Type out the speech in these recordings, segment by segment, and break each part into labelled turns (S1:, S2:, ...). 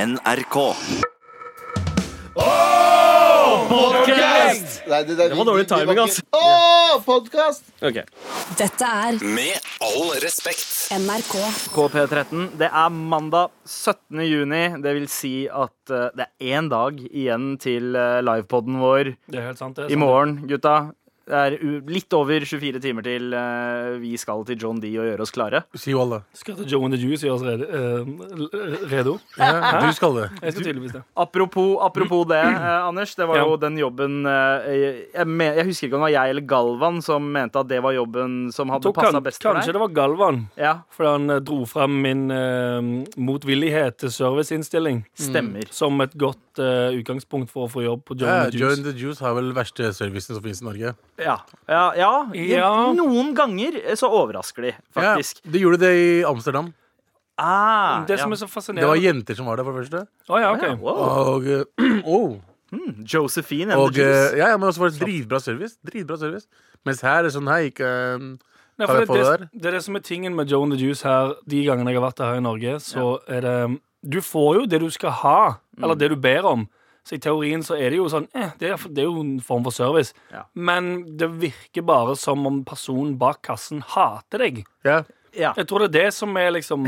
S1: NRK.
S2: Nei, det, det,
S3: Det var dårlig timing, ass.
S2: Åh, podkast!
S3: Ok.
S4: Dette er
S1: Med all respekt.
S4: NRK.
S3: KP13. Det er mandag 17. juni. Det vil si at eh, det er én dag igjen til eh, livepoden vår
S5: Det er helt sant. Det er
S3: i
S5: sant.
S3: morgen, gutta. Det er u litt over 24 timer til eh, vi skal til John D og gjøre oss klare.
S6: Si jo alle.
S5: Skal til Joe and the Juice gjøre oss rede? eh, redo?
S6: Du skal det.
S5: Jeg skal tydeligvis det.
S3: Apropos, apropos det, eh, Anders. Det var
S5: Ja.
S3: jo den jobben eh, jeg, jeg, me- jeg husker ikke om det var jeg eller Galvan som mente at det var jobben som hadde
S5: Tror kan,
S3: passa best for
S5: kanskje
S3: deg.
S5: det var Galvan,
S3: Ja,
S5: fordi han eh, dro fram min eh, motvillighet til serviceinnstilling
S3: stemmer.
S5: som et godt eh, utgangspunkt for å få jobb på Joe
S6: Ja,
S5: and the
S6: Join
S5: Juice.
S6: the Juice har vel verste servicen som finnes i Norge.
S3: Ja. Ja, ja.
S5: Ja.
S3: Noen ganger eh, så overrasker de, faktisk.
S6: Ja, de gjorde det i Amsterdam.
S3: Ah,
S5: Det som
S3: ja.
S5: er så
S6: Det var
S5: fascinerende
S6: jenter som var der, for det første.
S5: Å
S3: Ja,
S5: ja, ok.
S3: wow.
S6: Og, eh, oh,
S3: Josephine and
S6: og
S3: the
S6: eh,
S3: Juice.
S6: ja, ja, men også var det dritbra service. Dritbra service. Mens her er det sånn Hei, ikke eh,
S5: Nei,
S6: kan
S5: for
S6: jeg få
S5: det,
S6: det
S5: det, det er det som er tingen med Joe and the Juice her, de gangene jeg har vært her i Norge, så er det um, Du får jo det du skal ha, eller det du ber om. Så i teorien så er det jo sånn eh, det, er, det er jo en form for service.
S3: Ja.
S5: Men det virker bare som om personen bak kassen hater deg.
S6: Ja.
S3: Ja.
S5: Jeg tror det er det som er liksom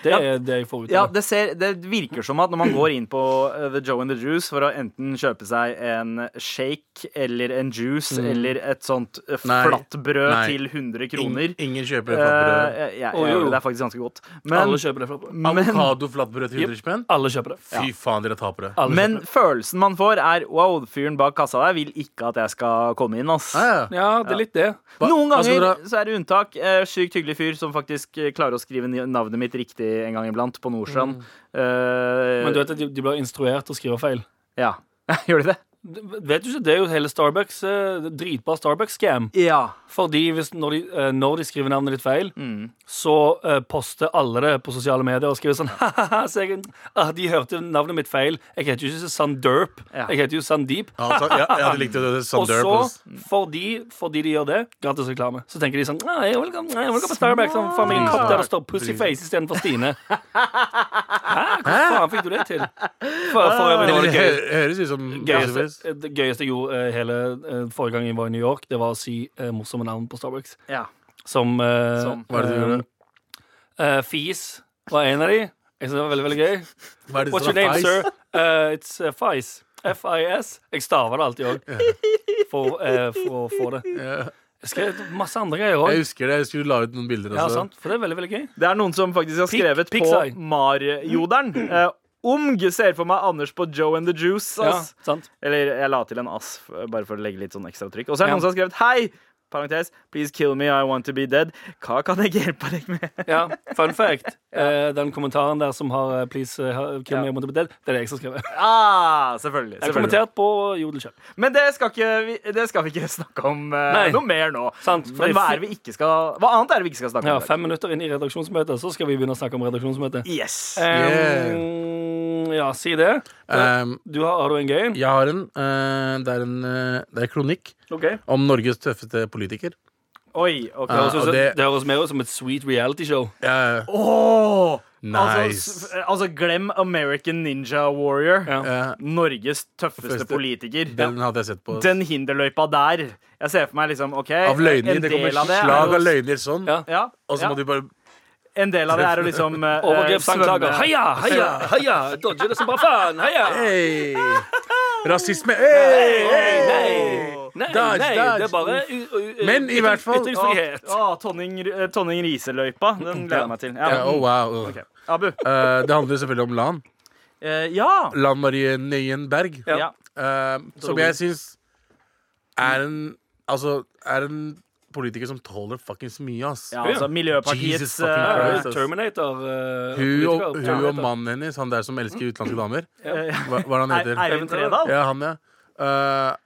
S5: Det
S3: Ja.
S5: er det jeg får ut
S3: Ja,
S5: av det.
S3: det, ser, det virker som at når man går inn på eh, The Joe and the Juice for å enten kjøpe seg en shake eller en juice eller et sånt eh,
S6: Mm. Nei.
S3: flatbrød
S6: Nei.
S3: til 100 kroner
S6: Ing- Ingen kjøper
S3: Eh,
S6: flatbrød.
S3: jeg, jeg,
S5: Å, jo, jo.
S3: Det er faktisk ganske godt.
S5: Alle
S3: Men,
S5: kjøper det. fra-
S3: men,
S6: Avokado-flatbrød til 100 spenn?
S5: Alle kjøper det.
S6: Fy faen, dere er tapere.
S5: Alle
S3: men
S5: kjøper det.
S3: følelsen man får, er wow, fyren bak kassa der vil ikke at jeg skal komme inn. ass
S6: Ja, ja.
S5: Ja, det er litt det.
S6: Hva-
S3: Noen
S6: hva skal
S3: ganger
S6: dere-
S3: så er det unntak. Eh, sykt hyggelig fyr som faktisk eh, klarer å skrive ni- navnet mitt riktig en gang iblant, på Nordstrand. Eh,
S5: Mm. Men du vet at de, de blir instruert til å skrive feil.
S3: Ja. Gjør de det?
S5: Vet du ikke, Det er jo hele Starbucks eh, dritbra Starbucks-scam.
S3: Ja.
S5: Fordi hvis, når, de, eh, når de skriver navnet ditt feil, så eh, poster alle det på sosiale medier og skriver sånn «Hahaha, så jeg, ah, De hørte navnet mitt feil. Jeg heter jo ikke Sanderp.
S3: Ja.
S5: Jeg heter jo Sandeep.
S6: Ja, altså, ja, ja, du likte det.
S5: Og
S6: Sunderp.
S5: så, fordi, fordi de gjør det, gratis reklame, så tenker de sånn «Nei, Jeg vil gå jeg vil gå på Starbucks og få meg en kopp der det står Pussyface istedenfor Stine. Hæ? Hvordan faen fikk du det til? For, for øvrig, det var det
S6: Eller, det hø
S5: gøy.
S6: høres ut som
S5: Gøyeste, det gøyeste jeg gjorde eh, hele eh, forrige gang jeg var i New York, det var å si eh, morsomme navn på Starbucks.
S3: ja.
S5: Som, eh,
S3: Som?
S6: Hva er det du gjorde?
S5: eh, Fis var en av de. Jeg synes det var veldig, veldig gøy.
S6: Hva er det
S5: What's your
S6: som
S5: name,
S6: er
S5: sir?
S6: feis?
S5: Uh, it's uh, Fis. F-I-S. Jeg staver det alltid òg. For, eh, for å få det.
S6: Ja.
S5: Jeg skrev masse andre greier
S6: Jeg
S5: òg.
S6: husker det. Jeg skulle la ut noen bilder
S5: Ja,
S6: også.
S5: sant, for det er veldig, veldig gøy.
S3: Det er noen som faktisk har
S5: Pik-
S3: skrevet
S5: Pixar.
S3: på Marjoderen. Eh, Omg ser for meg Anders på Joe and the Juice.
S5: Ja,
S3: Ass.
S5: sant.
S3: Eller jeg la til en ass, f- bare for å legge litt sånn ekstra trykk. Og så er det
S5: Ja.
S3: noen som har skrevet hei! Parentes, please kill me, I want to be dead. Hva kan jeg hjelpe deg med?
S5: Ja, Fun fact. eh, den kommentaren der som har eh, 'Please eh, kill me, I want to be dead', det er det jeg som skrev. Jeg
S3: Ah, selvfølgelig.
S5: har
S3: selvfølgelig.
S5: kommentert på Jodel selv.
S3: Men det skal, ikke, vi- det skal vi ikke snakke om eh,
S5: Nei.
S3: noe mer nå.
S5: Sant, for
S3: Men
S5: det-
S3: hva, er det vi ikke skal, hva annet er det vi ikke skal snakke om?
S5: Ja,
S3: i dag?
S5: Fem minutter inn i redaksjonsmøtet, så skal vi begynne å snakke om redaksjonsmøtet.
S3: Yes.
S5: Eh, Ehm, ja, si det.
S6: Um,
S5: Du har, har du en gøy en?
S6: jeg har en. eh, det er en eh, det er en kronikk
S5: OK.
S6: om Norges tøffeste politiker.
S3: Oi, ok.
S5: Det
S6: Ja,
S5: høres,
S6: og
S5: ut-
S6: det-
S5: det høres mer ut som et sweet reality-show.
S6: Eh,
S3: Åh! Altså,
S6: nice.
S3: s- altså, glem American Ninja Warrior.
S5: Ja.
S6: Eh,
S3: Norges tøffeste
S6: Tøffeste.
S3: politiker.
S6: den hadde jeg sett på.
S3: Den hinderløypa der. Jeg ser for meg liksom, ok
S6: Av løgner.
S3: en
S6: Det
S3: del
S6: kommer
S3: av det er
S6: slag
S3: å-
S6: av løgner sånn.
S5: Ja.
S3: Ja,
S6: Og så
S3: ja.
S6: må de bare
S3: En del av det er å liksom eh,
S5: Overgrepsanklager.
S3: svømme-
S5: Heia, heia, heia! Dodger det som bare faen! Heia!
S6: Hey! Rasisme! Hey!
S5: Nei, nei,
S6: Dodge,
S5: nei, det
S6: dodge.
S5: er bare u- u- u-
S6: Men i hvert fall-
S5: Ytringsfrihet.
S3: Å, å, Tonning, eh, Tonning Riise-løypa. Den gleder jeg meg til.
S6: Ja,
S3: Ja.
S6: oh, wow.
S3: Ok. Abu.
S6: Eh, det handler selvfølgelig om Lan.
S3: Eh, ja.
S6: Lan Marie Nøyen Berg.
S5: Ja.
S3: ja.
S6: Eh, som jeg syns er en Altså, er en politiker som tåler fuckings mye, ass.
S3: Ja, altså Miljøpartiets
S6: Jesus fucking
S3: eh,
S5: Ja,
S6: Christ, ass.
S5: Terminator. eh,
S6: Hun og,
S5: politiker.
S6: hun og mannen hennes, han der som
S5: Mm.
S6: elsker utenlandske damer.
S3: eh,
S6: Hva, hva er det han heter?
S3: Eivind Tredal.
S6: Ja, han, ja. Eh,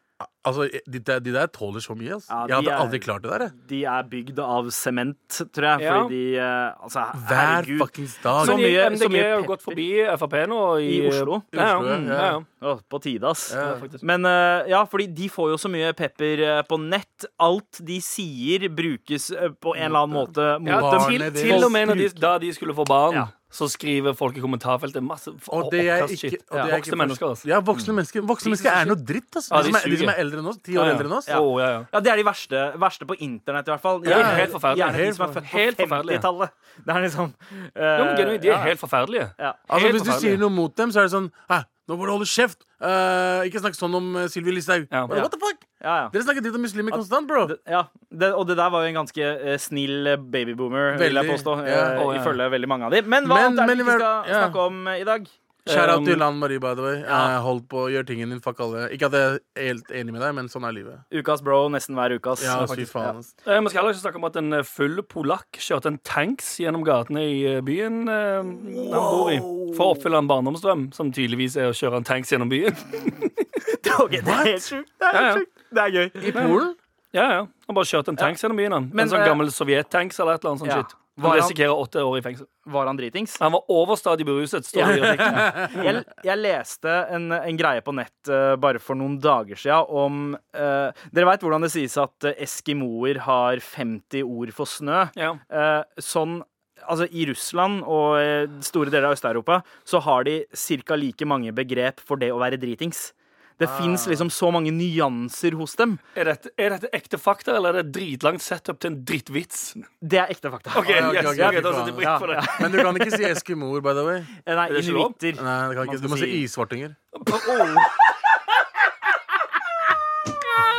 S6: altså, de der, de der tåler så mye. ass.
S3: Ja, de
S6: jeg hadde
S3: er-
S6: aldri klart det der. Jeg.
S3: De er bygd av sement, tror jeg.
S5: Ja.
S3: Fordi de eh, Altså,
S6: Hver
S3: herregud.
S6: fuckings dag.
S3: Så
S5: Men de-
S3: mye- så
S5: MDG
S3: mye
S5: har jo
S3: pepper.
S5: gått forbi Frp nå i,
S3: I Oslo.
S5: Ja, ja,
S6: I Oslo, ja.
S5: mm, ja, ja.
S3: Å, på tide, ass.
S6: Ja.
S5: faktisk.
S3: Men eh, ja, fordi de får jo så mye pepper eh, på nett. Alt de sier, brukes eh, på en eller annen måte mot
S5: Ja,
S6: Barnet
S5: til,
S6: ditt.
S5: til og med når de, da de skulle få barn,
S3: Ja.
S5: så skriver folk i kommentarfeltet masse
S6: Og det jeg ikke,
S5: oppkast-shit.
S6: og det
S5: Ja,
S6: jeg ikke
S5: Vokste mennesker,
S6: forstår-
S5: altså.
S6: Ja, voksne mennesker Voksne
S5: De
S6: mennesker
S5: som
S6: er noe dritt, altså.
S5: Ja,
S6: de,
S5: de
S6: som er, de
S5: suger.
S6: som er eldre enn oss, ti år
S5: Ja, ja.
S6: eldre enn oss.
S5: Å, ja, ja.
S3: Ja, Det er de verste, verste på internett, i hvert fall.
S5: Ja,
S3: Gjerne-
S5: helt forferdelig.
S3: Gjerne de som er
S5: Helt
S3: født på
S5: forferdelig.
S3: 50-tallet. Det er liksom
S5: Jo,
S6: Eh,
S5: men genuint, de
S3: ja.
S5: er helt forferdelige.
S3: Ja.
S6: Altså,
S5: Helt
S6: hvis du
S5: forferdelig.
S6: sier noe mot dem, så er det sånn Hæ, nå må du holde kjeft! Eh, ikke snakk sånn om eh, Sylvi Listhaug.
S5: Ja.
S6: What the fuck?
S3: ja, ja.
S6: Dere snakker dritt om muslimer konstant, bro.
S3: Det- Ja, det, og det der var jo en ganske eh, snill eh, babyboomer, vil jeg
S6: Veldig,
S3: påstå.
S6: ja.
S3: eh,
S5: Å, ja.
S3: Ifølge veldig mange av de. Men hva
S6: Men-
S3: annet er
S6: men
S3: det vi
S6: i hver-
S3: skal
S6: ja.
S3: snakke om eh, i dag?
S6: Shout out
S5: Um,
S6: til Lan Marie, by the way. Eh, hold på, gjør tingen din, fuck alle. Ikke at jeg er helt enig med deg, men sånn er livet.
S3: Ukas bro, nesten hver ukas.
S6: Ja, fy
S3: faktisk.
S6: faen. ass.
S5: Eh, Vi skal heller ikke snakke om at en eh, full polakk kjørte en tanks gjennom gatene i eh, byen eh, han bor i. For å oppfylle en barndomsdrøm, som tydeligvis er å kjøre en tanks gjennom byen.
S3: Ok, det er helt sjukt. Det er,
S5: Ja, ja.
S3: helt sjukt. Det er gøy.
S6: I Polen?
S5: Ja, ja. Han bare kjørte en tanks gjennom byen. Han.
S3: Men,
S5: en sånn
S3: eh,
S5: gammel sovjettanks eller et eller annet sånt
S3: ja.
S5: shit.
S3: Var
S5: Han
S3: han-
S5: risikerer åtte år i fengsel.
S3: Var han dritings?
S5: Han var overstadig beruset, står det i artikkelen.
S3: Jeg, jeg leste en, en greie på nett eh, bare for noen dager siden om eh, Dere veit hvordan det sies at eh, eskimoer har 50 ord for snø?
S5: Ja.
S3: Eh, sånn Altså, I Russland og eh, store deler av Øst-Europa så har de ca. like mange begrep for det å være dritings. Det
S5: Ah.
S3: fins liksom så mange nyanser hos dem.
S5: Er, dette, er dette ekte fakta, eller er det dritlangt setup til en drittvits?
S3: Det er ekte fakta.
S5: OK,
S6: ja, Ah, ok,
S5: yes, ok,
S6: ok, fy
S5: da setter
S6: faen.
S5: jeg pris på det.
S6: Men du kan ikke si eskimoer, by the way.
S3: Eh, Nei,
S5: det ikke lov?
S3: inuitter.
S6: Nei, det kan
S3: Man
S6: ikke. Du
S3: skal
S6: må si
S3: si-
S6: isvartinger.
S3: Oh,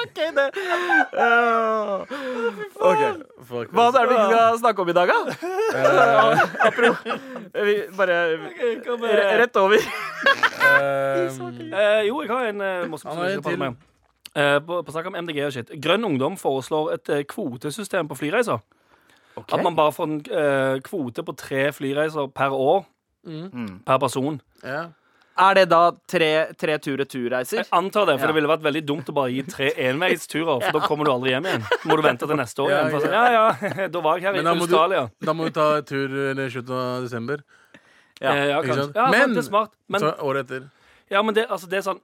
S3: Ok, det Eh, ok.
S6: Fuck,
S3: Hva
S6: ass.
S3: er det vi
S5: Ah.
S3: skal snakke om i dag, da? Eh, Apropos Vi bare
S5: kom med
S3: re-
S5: det.
S3: Rett over.
S6: Eh,
S5: Eh, jo, jeg har en eh, morsom
S6: Han har en
S5: spørsmål.
S6: til.
S5: Med. Eh, på, på snakk om MDG og shit. Grønn Ungdom foreslår et eh, kvotesystem på flyreiser. At man bare får en eh, kvote på tre flyreiser per år.
S6: Mm.
S5: Per person.
S6: ja.
S3: Er det da tre, tre tur-retur-reiser?
S5: Jeg antar det, for
S3: Ja.
S5: det ville vært veldig dumt å bare gi tre enveisturer. For da kommer du aldri hjem igjen. Må du vente til neste år
S6: Ja,
S5: igjen. For sånn, ja, ja, da var jeg her
S6: Men
S5: i
S6: da må du-
S5: Australia.
S6: Da må vi ta tur i slutten av desember.
S3: Ja,
S5: Eh, ja,
S6: ikke
S5: kanskje.
S6: sant?
S5: Ja,
S6: Men-
S5: men, det er smart. Men,
S6: Så året etter.
S5: ja, men det, altså, det er sånn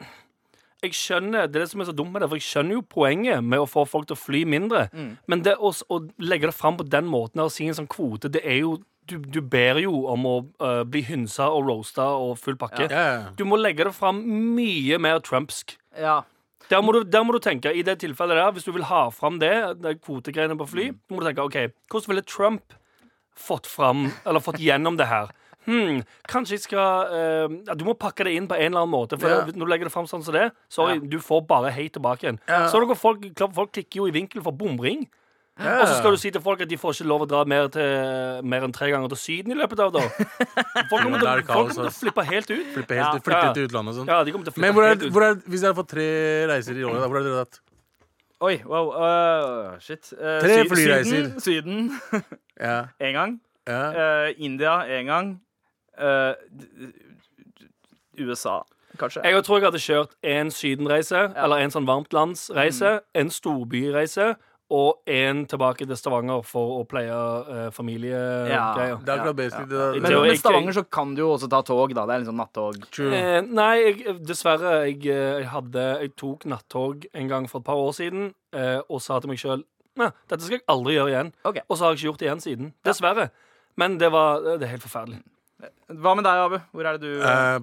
S5: jeg skjønner, Det er det som er så dumt med det, for jeg skjønner jo poenget med å få folk til å fly mindre.
S6: Mm.
S5: Men det å, s- å legge det fram på den måten og si en sånn kvote, det er jo Du, du ber jo om å eh, bli hynsa og roasta og full pakke.
S6: Ja, ja.
S5: Du må legge det fram mye mer trumpsk.
S3: Ja.
S5: Der må, du, der må du tenke, i det tilfellet der, Hvis du vil ha fram det, det kvotegreiene på fly, må du tenke ok, hvordan ville Trump fått fram, eller fått gjennom det her? Hmm, kanskje jeg skal eh, ja, Du må pakke det inn på en eller annen måte. For
S6: Ja.
S5: Når du legger det fram sånn som det, sorry, du får bare hate tilbake igjen.
S6: Ja.
S5: Så er det hvor folk, klart folk klikker jo i vinkel for bomring.
S6: Ja.
S5: Og så skal du si til folk at de får ikke lov å dra mer, til, mer enn tre ganger til Syden i løpet av da. Folk kommer til,
S6: da er det
S5: folk kommer
S6: kaos,
S5: til å
S6: ass.
S5: flippe helt ut.
S6: Flippe helt,
S5: Ja.
S6: Flytte
S5: Ja.
S6: til utlandet og sånn.
S5: altså. Ja, de kommer til å
S6: Men
S5: flippe
S6: hvor er,
S5: helt ut.
S6: hvor er, hvis dere har fått tre reiser i året, da, hvor er dere dratt?
S3: Oi, wow. øh, shit. Eh,
S6: Tre
S3: Sy-
S6: flyreiser.
S3: Syden, Syden
S6: Ja,
S3: én gang.
S6: ja.
S3: Eh, India én gang. Eh, d- d- d- USA, kanskje.
S5: Jeg tror jeg hadde kjørt en sydenreise, eller en sånn varmtlandsreise, en storbyreise og en tilbake til Stavanger for å pleie eh,
S3: Ja.
S5: familiegreier.
S6: Det er akkurat basically det.
S5: I
S3: men
S5: teori-
S3: med Stavanger så kan du jo også ta tog, da. Det er liksom nattog.
S6: True.
S5: Eh, nei, jeg, dessverre. Jeg, eh, jeg, hadde, jeg tok nattog en gang for et par år siden eh, og sa til meg sjøl dette skal jeg aldri gjøre igjen.
S3: Ok.
S5: Og så har jeg ikke gjort det igjen siden. Dessverre. Men det var eh, det er helt forferdelig.
S3: Hva med deg, Abu? Hvor er det du ja.
S6: Eh,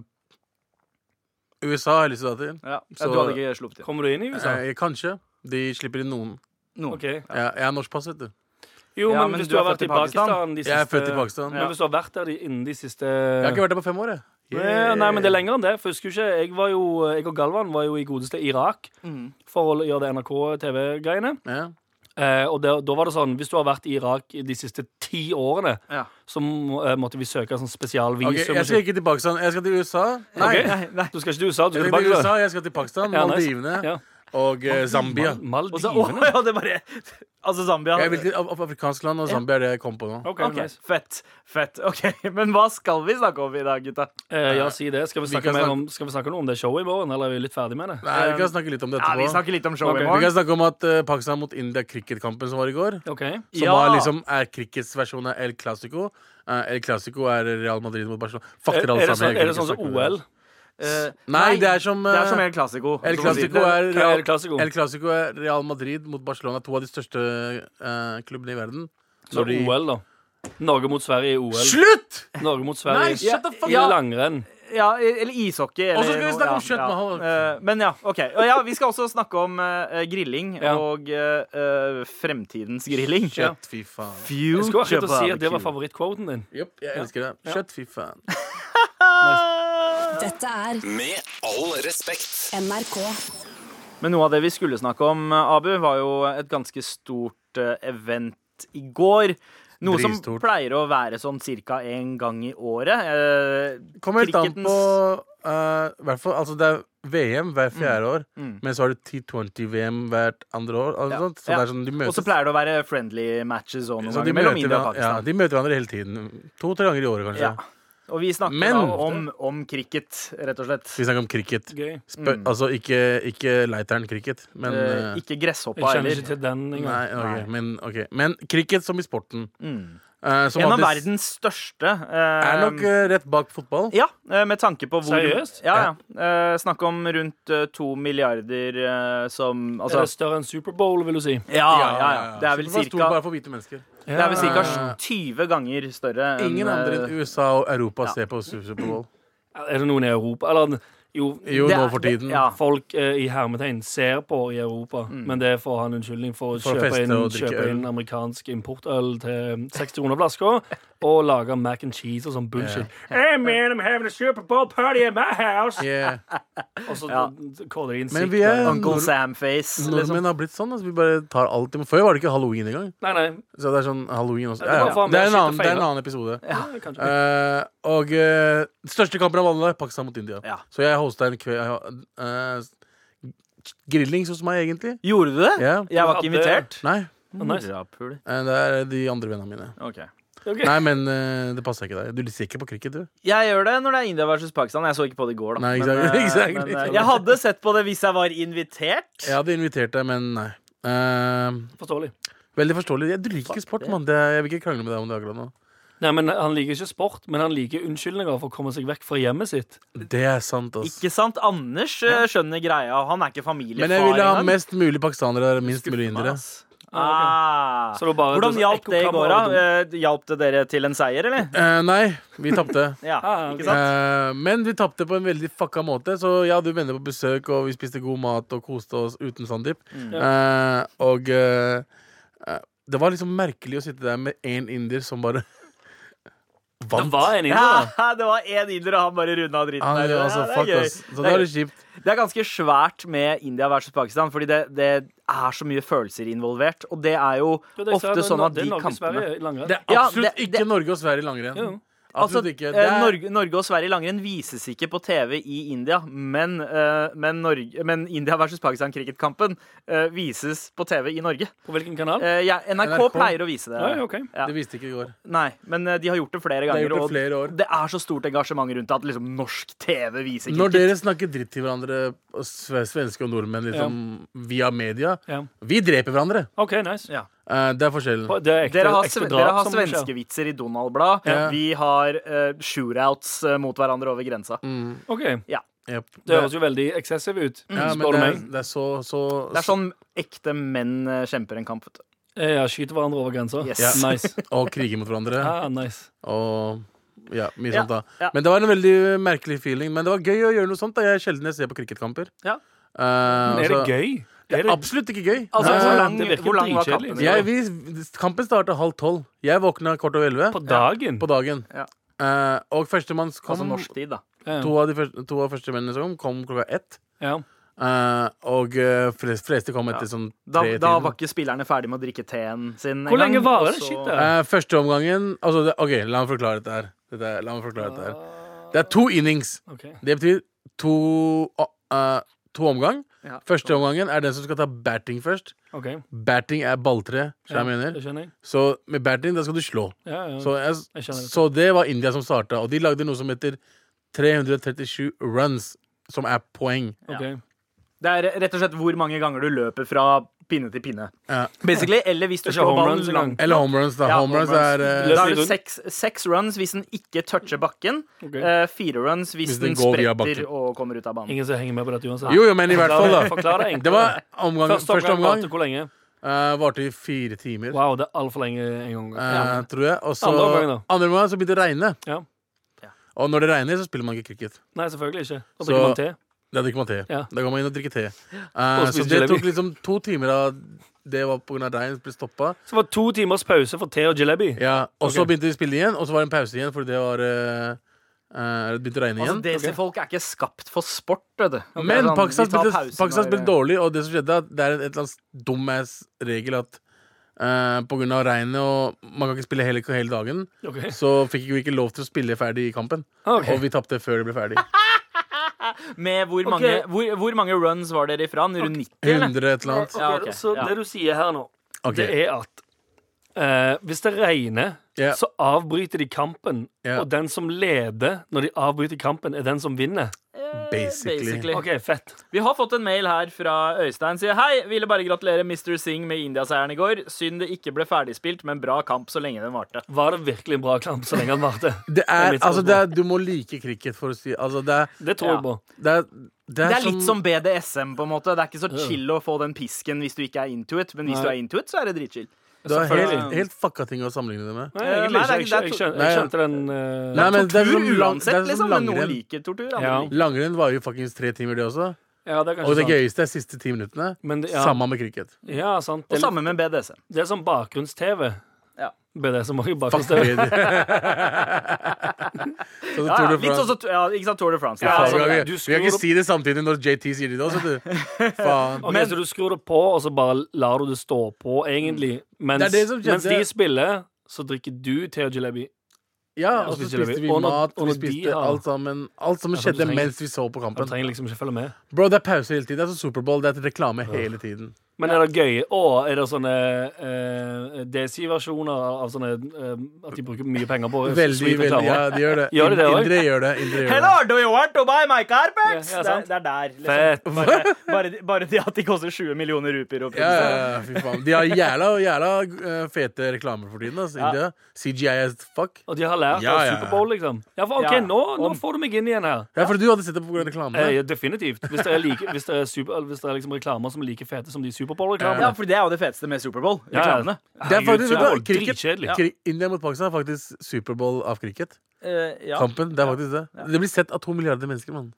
S6: USA har jeg lyst til å dra til.
S3: Ja,
S6: så-
S3: Du hadde ikke sluppet inn?
S5: Kommer du inn i USA?
S6: Eh, kanskje. De slipper inn noen.
S3: Noen.
S5: Ok.
S6: Jeg, jeg er norsk pass, vet du.
S5: Jo,
S3: Ja,
S5: men, hvis du har vært i Pakistan, de siste
S6: Jeg er født i Pakistan.
S5: Men hvis du har vært der de, innen de siste
S6: Jeg har ikke vært der på fem år, jeg.
S5: Ja, Eh, Nei, men det er lenger enn det. For jeg husker jo ikke, jeg, var jo, jeg og Galvan var jo i godeste Irak
S6: Mm.
S5: for å gjøre det NRK-TV-greiene.
S6: Ja.
S5: Eh, og det, da var det sånn, hvis du har vært i Irak i de siste ti årene,
S3: Ja.
S5: så må- eh, måtte vi søke sånn
S6: Ok,
S5: spesialvisum.
S6: jeg skal ikke til Pakistan. Jeg skal til USA. Nei,
S5: Ok.
S3: Nei, nei.
S5: Du skal ikke til USA, du skal
S6: jeg skal til
S5: tilbake
S6: USA, jeg skal til Pakistan,
S5: Ja, nice.
S6: Maldivene
S5: Ja.
S6: og eh, Zambia.
S3: Og så- Å,
S5: Maldivene?
S3: ja, det bare Altså Zambia.
S6: Jeg vil til af- af- afrikansk land, og Zambia er det jeg kom på nå.
S5: OK,
S3: Ok,
S5: nice.
S3: Fett. Fett. ok Men hva skal vi snakke om i dag, gutta?
S5: Eh, ja, si det. Skal vi,
S6: Vi
S5: snakke
S6: kan
S5: mer
S6: snakke-
S5: om, skal vi snakke noe om det showet i morgen, eller er vi litt ferdig med det?
S6: Nei, Vi kan snakke litt om det
S3: Ja, Vi
S6: etterpå.
S3: snakker litt om showet
S5: Ok.
S3: i
S6: Vi
S3: morgen.
S6: kan snakke om at eh, Pakistan mot India, cricketkampen som var i går,
S5: OK.
S6: som
S3: Ja.
S6: var liksom, er crickets versjon av El Clásico. Eh, El Clásico er Real Madrid mot Barcelona. Fucker
S5: Er,
S6: alle
S5: er, det sånn,
S6: sammen. jeg
S5: er
S6: kan
S5: det sånn
S6: ikke
S5: som
S6: snakke om
S5: OL?
S3: Eh,
S6: Nei, det er som,
S3: Det er
S6: eh,
S3: som El Clasico.
S6: El Clásico er,
S5: Hva er El
S6: Real-
S5: Clásico?
S6: El Clásico er Real Madrid mot Barcelona, to av de største eh, klubbene i verden.
S5: Så
S6: Når de-
S5: OL, Sånn da. Norge mot Sverige i OL.
S6: Slutt!
S5: Norge mot
S6: Nei,
S5: Sverige i
S6: shut the fuck
S3: Ja.
S6: up!
S5: langrenn.
S3: Ja, eller ishockey. eller
S6: Og så skal vi
S3: noe-
S6: snakke om
S3: ja, ja.
S6: kjøtt, Mahal.
S3: Eh, Men ja, OK. Og ja, vi skal også snakke om eh, grilling
S5: Ja.
S3: og eh, eh, fremtidens grilling.
S6: Kjøtt, fy faen.
S5: Jeg skulle akkurat til å si at det var
S3: barbecue.
S5: favorittquoten din.
S6: Jopp, jeg elsker det. Kjøtt, fy faen.
S2: Dette er
S1: Med all respekt.
S2: NRK.
S3: Men noe av det vi skulle snakke om, eh, Abu, var jo et ganske stort eh, event i går. Noe som
S6: Dritstort.
S3: pleier å være sånn ca. én gang i året. Eh,
S6: Kommer helt an på
S3: Cricketens-
S6: eh, hvert fall, altså Det er VM
S3: Mm.
S6: hver fjerde år, men så har du T20-VM hvert andre år. Altså, sånt. Så
S3: Ja.
S6: det er sånn de
S3: Og
S6: møtes
S3: så pleier det å være friendly matches og noen
S6: så de
S3: ganger mellom
S6: møter,
S3: India og
S6: hver- ja,
S3: Pakistan.
S6: de møter hverandre hele tiden. To-tre ganger i året, kanskje.
S3: Ja. Og vi snakker
S6: Men-
S3: da om, om cricket, rett og slett.
S6: Vi snakker om cricket.
S5: Gøy.
S6: Spør, Altså ikke, ikke leiteren cricket, men
S3: Mm. Eh,
S6: eh,
S3: ikke
S5: Jeg
S3: gresshoppa
S5: kjenner
S3: heller.
S5: ikke til den engang.
S6: Nei, ok, Men, ok. men cricket som i sporten. eh, som
S3: En av
S6: alltid
S3: verdens
S6: s-
S3: største. eh,
S6: Er nok eh, rett bak fotball.
S3: Ja, eh, med tanke på hvor
S5: Seriøst?
S3: Ja, ja. Eh, Snakk om rundt eh, to milliarder eh, som
S5: Er
S3: Altså
S5: det større enn Superbowl, vil du si?
S3: ja, ja, ja. Det er vel
S6: Superbowl stor
S3: cirka
S6: bare for hvite mennesker.
S3: det er vel cirka 20 ganger større enn
S6: Ingen andre
S3: eh,
S6: enn USA og Europa ser på Su- Superbowl.
S5: Er det noen i Europa Eller jo,
S6: Jo,
S3: det
S6: nå
S3: er-
S6: for tiden.
S3: Ja.
S5: folk eh, i hermetegn ser på i Europa, men det får han unnskyldning for å
S6: Mm. For å
S5: kjøpe,
S6: feste
S5: inn,
S6: og drikke
S5: kjøpe
S6: øl.
S5: inn amerikansk importøl til 600 flasker og lage mac and cheese og sånn bullshit. Hey man, I'm having a Super Bowl party at my house
S6: Yeah.
S5: Og så
S3: Ja.
S5: kaller de inn
S6: Men
S5: sick,
S6: vi er-
S5: da.
S3: Uncle
S6: Nord-
S3: Sam-face. Liksom.
S6: Nordmenn har blitt sånn. Altså, vi bare tar alt. de må- Før var det ikke halloween engang.
S5: Nei, nei.
S6: Så det er sånn halloween også.
S5: Ja, det
S6: Ja,
S5: var
S6: ja.
S5: faen
S6: Det
S5: meg
S6: er
S5: shit
S6: en
S5: å
S6: annen, det er en
S5: feire.
S6: annen episode.
S5: Ja, kanskje.
S6: Eh, og eh, største kampen av alle Pakistan mot India.
S3: Ja.
S6: Så jeg hosta en kveld eh, Grillings hos meg, egentlig.
S3: Gjorde du det?
S6: Ja.
S3: Jeg var ikke
S5: Du hadde-
S3: invitert.
S6: Nei,
S5: Ah, nice.
S3: Morapul.
S6: eh, det er de andre vennene mine.
S3: Ok.
S5: Ok.
S6: Nei, men eh, det passer ikke deg. Du ser ikke på cricket, du.
S3: Jeg gjør det når det er India versus Pakistan. Jeg så ikke på det i går, da.
S6: Nei,
S3: Men,
S6: exactly,
S3: eh,
S6: exactly.
S3: men, eh, jeg hadde sett på det hvis jeg var invitert.
S6: Jeg hadde invitert deg, men nei. Eh,
S5: Forståelig.
S6: veldig forståelig. Jeg- Du liker ikke sport, mann. Det- Jeg vil ikke krangle med deg om det akkurat nå.
S5: Nei, men Han liker ikke sport, men han liker unnskyldninger for å komme seg vekk fra hjemmet sitt.
S6: Det er sant, ass.
S3: Ikke sant? Anders eh, skjønner greia. Han er ikke familiefar
S6: Men jeg ville ha
S3: engang.
S6: mest mulig pakistanere der, minst mulig indere.
S3: Ah,
S5: ok. Så det var bare-
S3: Hvordan
S5: det var
S3: hjalp det i går, da?
S5: ekkokamera,
S3: Eh, Hjalp det dere til en seier, eller?
S6: Eh, nei, vi tapte.
S3: Ja,
S5: Ah,
S3: ikke
S5: ok.
S3: sant?
S6: Eh, men vi tapte på en veldig fucka måte, så jeg hadde jo venner på besøk, og vi spiste god mat og koste oss uten Sandeep. Eh, og eh, eh, det var liksom merkelig å sitte der med én inder som bare
S5: Det
S6: vant.
S5: var en inne, da.
S3: Ja, det var én inder, og han bare runda dritten
S6: Han,
S3: der. Ja,
S6: altså,
S3: det, er
S6: fuck,
S3: gøy.
S6: ass. Så
S3: det,
S6: da
S3: er
S6: er det
S3: gøy.
S6: kjipt.
S3: det er ganske svært med India versus Pakistan, fordi det, det er så mye følelser involvert. Og det er jo
S5: Jo, det er-
S3: ofte
S5: det er-
S3: sånn at
S5: det er
S3: de
S5: Norge,
S3: kampene
S5: Sverige, langrenn.
S6: Det er
S3: Ja,
S6: absolutt
S3: det-
S6: ikke Norge og Sverige i langrenn.
S5: Jo.
S3: Altså,
S6: Absolutt ikke. Det
S3: eh,
S6: er,
S3: Norge, Norge og Sverige i langrenn vises ikke på TV i India, men, eh, men, Norge, men India versus Pakistan-cricketkampen eh, vises på TV i Norge.
S5: På hvilken kanal?
S3: Eh, ja, NRK,
S6: NRK.
S3: pleier å vise det.
S5: Ja, ok.
S3: ja.
S6: Det visste ikke i går.
S3: Nei, men eh, de har gjort det flere
S6: har
S3: ganger.
S6: gjort det
S3: og
S6: flere år.
S3: det er så stort engasjement rundt det at liksom, norsk TV viser
S6: Når
S3: cricket.
S6: dere snakker dritt til hverandre, og sve- svenske og nordmenn, liksom, via media
S5: Ja.
S6: Vi dreper hverandre.
S5: OK, nice.
S3: Ja.
S6: Eh, det er forskjellen.
S5: På- Det er ekte,
S3: Dere har,
S5: ekte
S3: sve-
S5: drap
S3: dere har
S5: som skjer.
S3: svenskevitser i Donald-blad.
S6: Ja.
S3: Vi har eh, shootouts eh, mot hverandre over grensa.
S6: Mm.
S5: Ok,
S3: Ja. Mm.
S6: Yep.
S5: Det høres jo veldig excessive ut.
S6: ja, men
S5: spør du
S6: det er,
S5: meg.
S6: det er så, så
S3: Det er sånn ekte menn eh, kjemper en kamp. vet du.
S5: Eh, Ja, skyter hverandre over grensa.
S3: Yes.
S6: Ja.
S5: Nice.
S6: Og kriger mot hverandre.
S5: Ah, nice.
S6: Og ja, mye
S3: Ja,
S6: sånt da
S3: ja.
S6: Men det var en veldig merkelig feeling. Men det var gøy å gjøre noe sånt. da Jeg er sjelden jeg ser på cricketkamper.
S3: Ja.
S6: Eh,
S5: Men er
S6: altså,
S5: det gøy? Er det,
S6: Absolutt ikke gøy.
S3: Altså,
S5: Nei,
S3: hvor
S5: det
S3: lang,
S5: virker
S3: hvor lang var
S5: dritkjedelig.
S3: kampen?
S6: jeg, vi, kampen starta halv tolv. Jeg våkna kvart over elleve
S5: på dagen?
S6: på dagen.
S3: Ja.
S6: Eh, og førstemann kom
S3: Altså norsk tid, da.
S5: Ja.
S6: To av de første, to av første mennene som kom, kom klokka ett.
S5: Ja.
S6: Eh, og eh, flest, fleste kom etter sånn
S3: Da,
S6: tre
S3: da
S6: timer.
S3: var ikke spillerne ferdig med å drikke teen sin.
S5: Hvor lenge varer
S3: og
S5: det
S3: så-
S5: shit der?
S6: Eh, første omgangen altså det, OK, la meg forklare dette her. Dette, er- la meg forklare dette her. Det er to innings.
S5: Ok.
S6: Det betyr to, eh, to omgang.
S3: Ja.
S6: Første omgangen er den som skal ta batting først.
S5: ok.
S6: Batting er balltre. skjønner du hva
S5: Det
S6: jeg mener.
S5: skjønner jeg.
S6: Så med batting, da skal du slå.
S5: Ja, ja.
S6: Så, jeg,
S5: Jeg skjønner det.
S6: så det var India som starta, og de lagde noe som heter 337 runs, som er poeng.
S5: Ok.
S3: Det er rett og slett hvor mange ganger du løper fra pinne til pinne.
S6: Ja.
S3: Basically, Eller hvis du
S5: Det er ikke
S3: slår
S5: home
S3: ballen
S5: runs engang.
S3: langt.
S6: Eller home runs, da.
S3: Ja,
S6: home runs
S3: home runs.
S6: er eh,
S3: Da er det
S5: Løper-
S3: seks, seks runs hvis den ikke toucher bakken.
S5: Ok.
S3: Eh, fire runs hvis,
S6: Hvis
S3: den
S6: den går via
S3: spretter
S6: bakken.
S3: og kommer ut av banen.
S5: Ingen som henger med på dette uansett.
S6: Jo, jo, men i hvert fall, da.
S5: Forklar det enkelt.
S6: Det var omgang,
S5: Første omgang
S6: første omgang.
S5: varte hvor lenge?
S6: Eh, varte i fire timer,
S5: Wow, det er altfor lenge en gang.
S6: eh, tror jeg. Og så
S5: Andre omgang, da.
S6: andre omgang så begynte det å regne.
S5: Ja.
S3: Ja.
S6: Og når det regner, så spiller man ikke cricket.
S5: Nei, selvfølgelig ikke. Da
S6: Så-
S5: drikker man te.
S6: Da drikker man te.
S5: Ja.
S6: Da går man inn og drikker te. Eh, så
S5: spiser
S6: det
S5: jalebi.
S6: tok liksom to timer av det var pga. regn, ble stoppa.
S5: Så det var to timers pause for te og jalebi.
S6: Ja, og så
S5: Ok.
S6: begynte de å spille igjen, og så var det en pause igjen fordi det var eh, eh, Det begynte å regne
S3: Altså,
S6: igjen.
S3: Desi-folk er ikke skapt for sport, vet du. Det er
S6: Men
S3: sånn,
S6: Pakistan
S3: de tar
S6: spilte,
S3: pausen
S6: Pakistan
S3: når-
S6: spilte dårlig, og det som skjedde, er at det er en et eller annen dumbass regel at eh, på grunn av regnet og man kan ikke spille hele, hele dagen,
S5: Ok.
S6: så fikk vi ikke lov til å spille ferdig i kampen.
S5: Ok.
S6: Og vi tapte før det ble ferdig.
S3: Med hvor,
S5: Ok.
S3: mange, hvor, hvor mange runs var dere ifra? Rundt 90, eller?
S6: 100 et eller annet.
S3: Ja, ok,
S5: Så
S3: ja.
S5: det du sier her nå,
S6: Ok.
S5: det er at eh, hvis det regner,
S6: Ja.
S5: så avbryter de kampen.
S6: Ja.
S5: Og den som leder når de avbryter kampen, er den som vinner.
S3: Eh,
S6: Basically.
S5: OK, fett.
S3: Vi har fått en mail her fra Øystein. Sier hei, ville bare gratulere Mr. Singh med Indiaseieren i går. Synd det ikke ble ferdigspilt, men bra kamp så lenge den varte.
S5: Var det virkelig en bra kamp så lenge den varte?
S6: Det
S5: er
S6: er,
S5: mitt
S6: altså,
S5: spørsmål.
S6: det er, du må like cricket for å si Altså, det er,
S5: Det tror jeg på.
S6: det er, sånn- det
S3: Det er litt som BDSM, på en måte. Det er ikke så chill å få den pisken hvis du ikke er into it, men hvis
S5: Nei.
S3: du er into it, så er det dritchill.
S6: Du har helt,
S3: Selvfølgelig.
S6: helt fucka ting å sammenligne det med.
S5: Nei,
S3: Eh,
S5: egentlig
S3: nei,
S5: ikke. Jeg,
S3: det er- det er
S5: skjøn- jeg, skjøn-
S6: Nei,
S5: jeg
S6: ja.
S5: skjønte den eh,
S6: Nei, men det er
S3: Tortur
S6: som lang- det
S3: uansett,
S6: er som
S3: liksom. Men noen
S6: langrenn.
S3: liker tortur, andre
S5: Ja.
S3: liker
S6: Langrenn var jo fuckings tre timer, det også.
S5: Ja, det er kanskje
S6: Og det
S5: sant.
S6: gøyeste er siste ti minuttene.
S5: Men det, ja,
S6: Samme med cricket.
S5: Ja, sant.
S3: Og
S5: Det,
S3: samme med BDSM.
S5: det er som bakgrunns-TV.
S3: Ja.
S5: Det er det som er
S6: Fuck
S5: bakgrunns-TV.
S6: det. Så
S3: Ja, ja,
S6: Tour de
S3: litt
S6: France.
S3: sånn som ja, ikke sant, Tour de France.
S5: Ja,
S3: Ja, sånn,
S6: Faen,
S5: altså,
S6: vi, kan
S5: du
S6: ikke, vi kan
S5: skrur
S6: ikke si det samtidig når JT sier det til oss, vet du. Faen.
S5: Ok,
S3: Men-
S5: så du skrur det på, og så bare lar du det stå på, egentlig. Mens,
S6: Det er det som skjedde.
S5: mens de spiller, så drikker du te og jalebi.
S6: Ja,
S5: og
S6: og så
S5: spiste
S6: spiste
S5: vi-
S6: vi
S5: og når-
S6: mat,
S5: og
S6: vi
S5: når de
S6: spiste
S5: har-
S6: alt sammen. Alt sammen
S5: Ja, for du
S6: skjedde
S5: trenger-
S6: mens vi så på
S5: Du
S6: kampen.
S5: trenger liksom ikke følge med.
S6: Bro, det er pause hele tiden. Det er sånn Superbowl, det er reklame hele tiden.
S5: Men er det gøy? Og er det sånne eh, DC-versjoner av sånne eh, At de bruker mye penger på?
S6: Veldig,
S5: sweet
S6: veldig,
S5: reklamer?
S6: ja, de gjør det.
S5: Gjør de det også?
S6: Indre gjør det. Indre gjør det.
S3: Hello, do you want to buy my carpets?
S5: Ja, ja,
S3: det, er,
S5: sant.
S3: det er der. Liksom.
S5: Fett.
S3: Bare, bare, de- bare det at de koster 20 millioner rupier å
S6: Ja,
S3: produsere.
S6: ja, ja, fy faen. De har jævla, jævla eh, fete reklamer for tiden. Altså,
S3: Ja.
S6: India. CGI as fuck.
S5: Og de har lært
S6: Ja,
S5: av
S6: ja, ja.
S5: Superbowl, liksom. Ja, for OK,
S3: Ja.
S5: nå, nå får du meg inn igjen her.
S6: Ja, for du hadde sett det på grunn av reklame.
S5: Eh, ja, definitivt. Hvis det er, like, hvis det er, super, eller hvis det er liksom reklamer som er like fete som de
S3: Ja,
S5: Superbowl-reklamene.
S3: for det er jo det feteste med Superbowl.
S5: Ja, ja.
S3: Reklamene.
S6: Det er faktisk, vet du,
S5: Herregud,
S6: hva,
S5: Superbowl,
S6: cricket,
S5: dritkjedelig.
S6: kri- India mot Pakistan er faktisk Superbowl av cricket.
S3: Eh, ja.
S6: Kampen, det er faktisk det. Det blir sett av to milliarder mennesker, mann.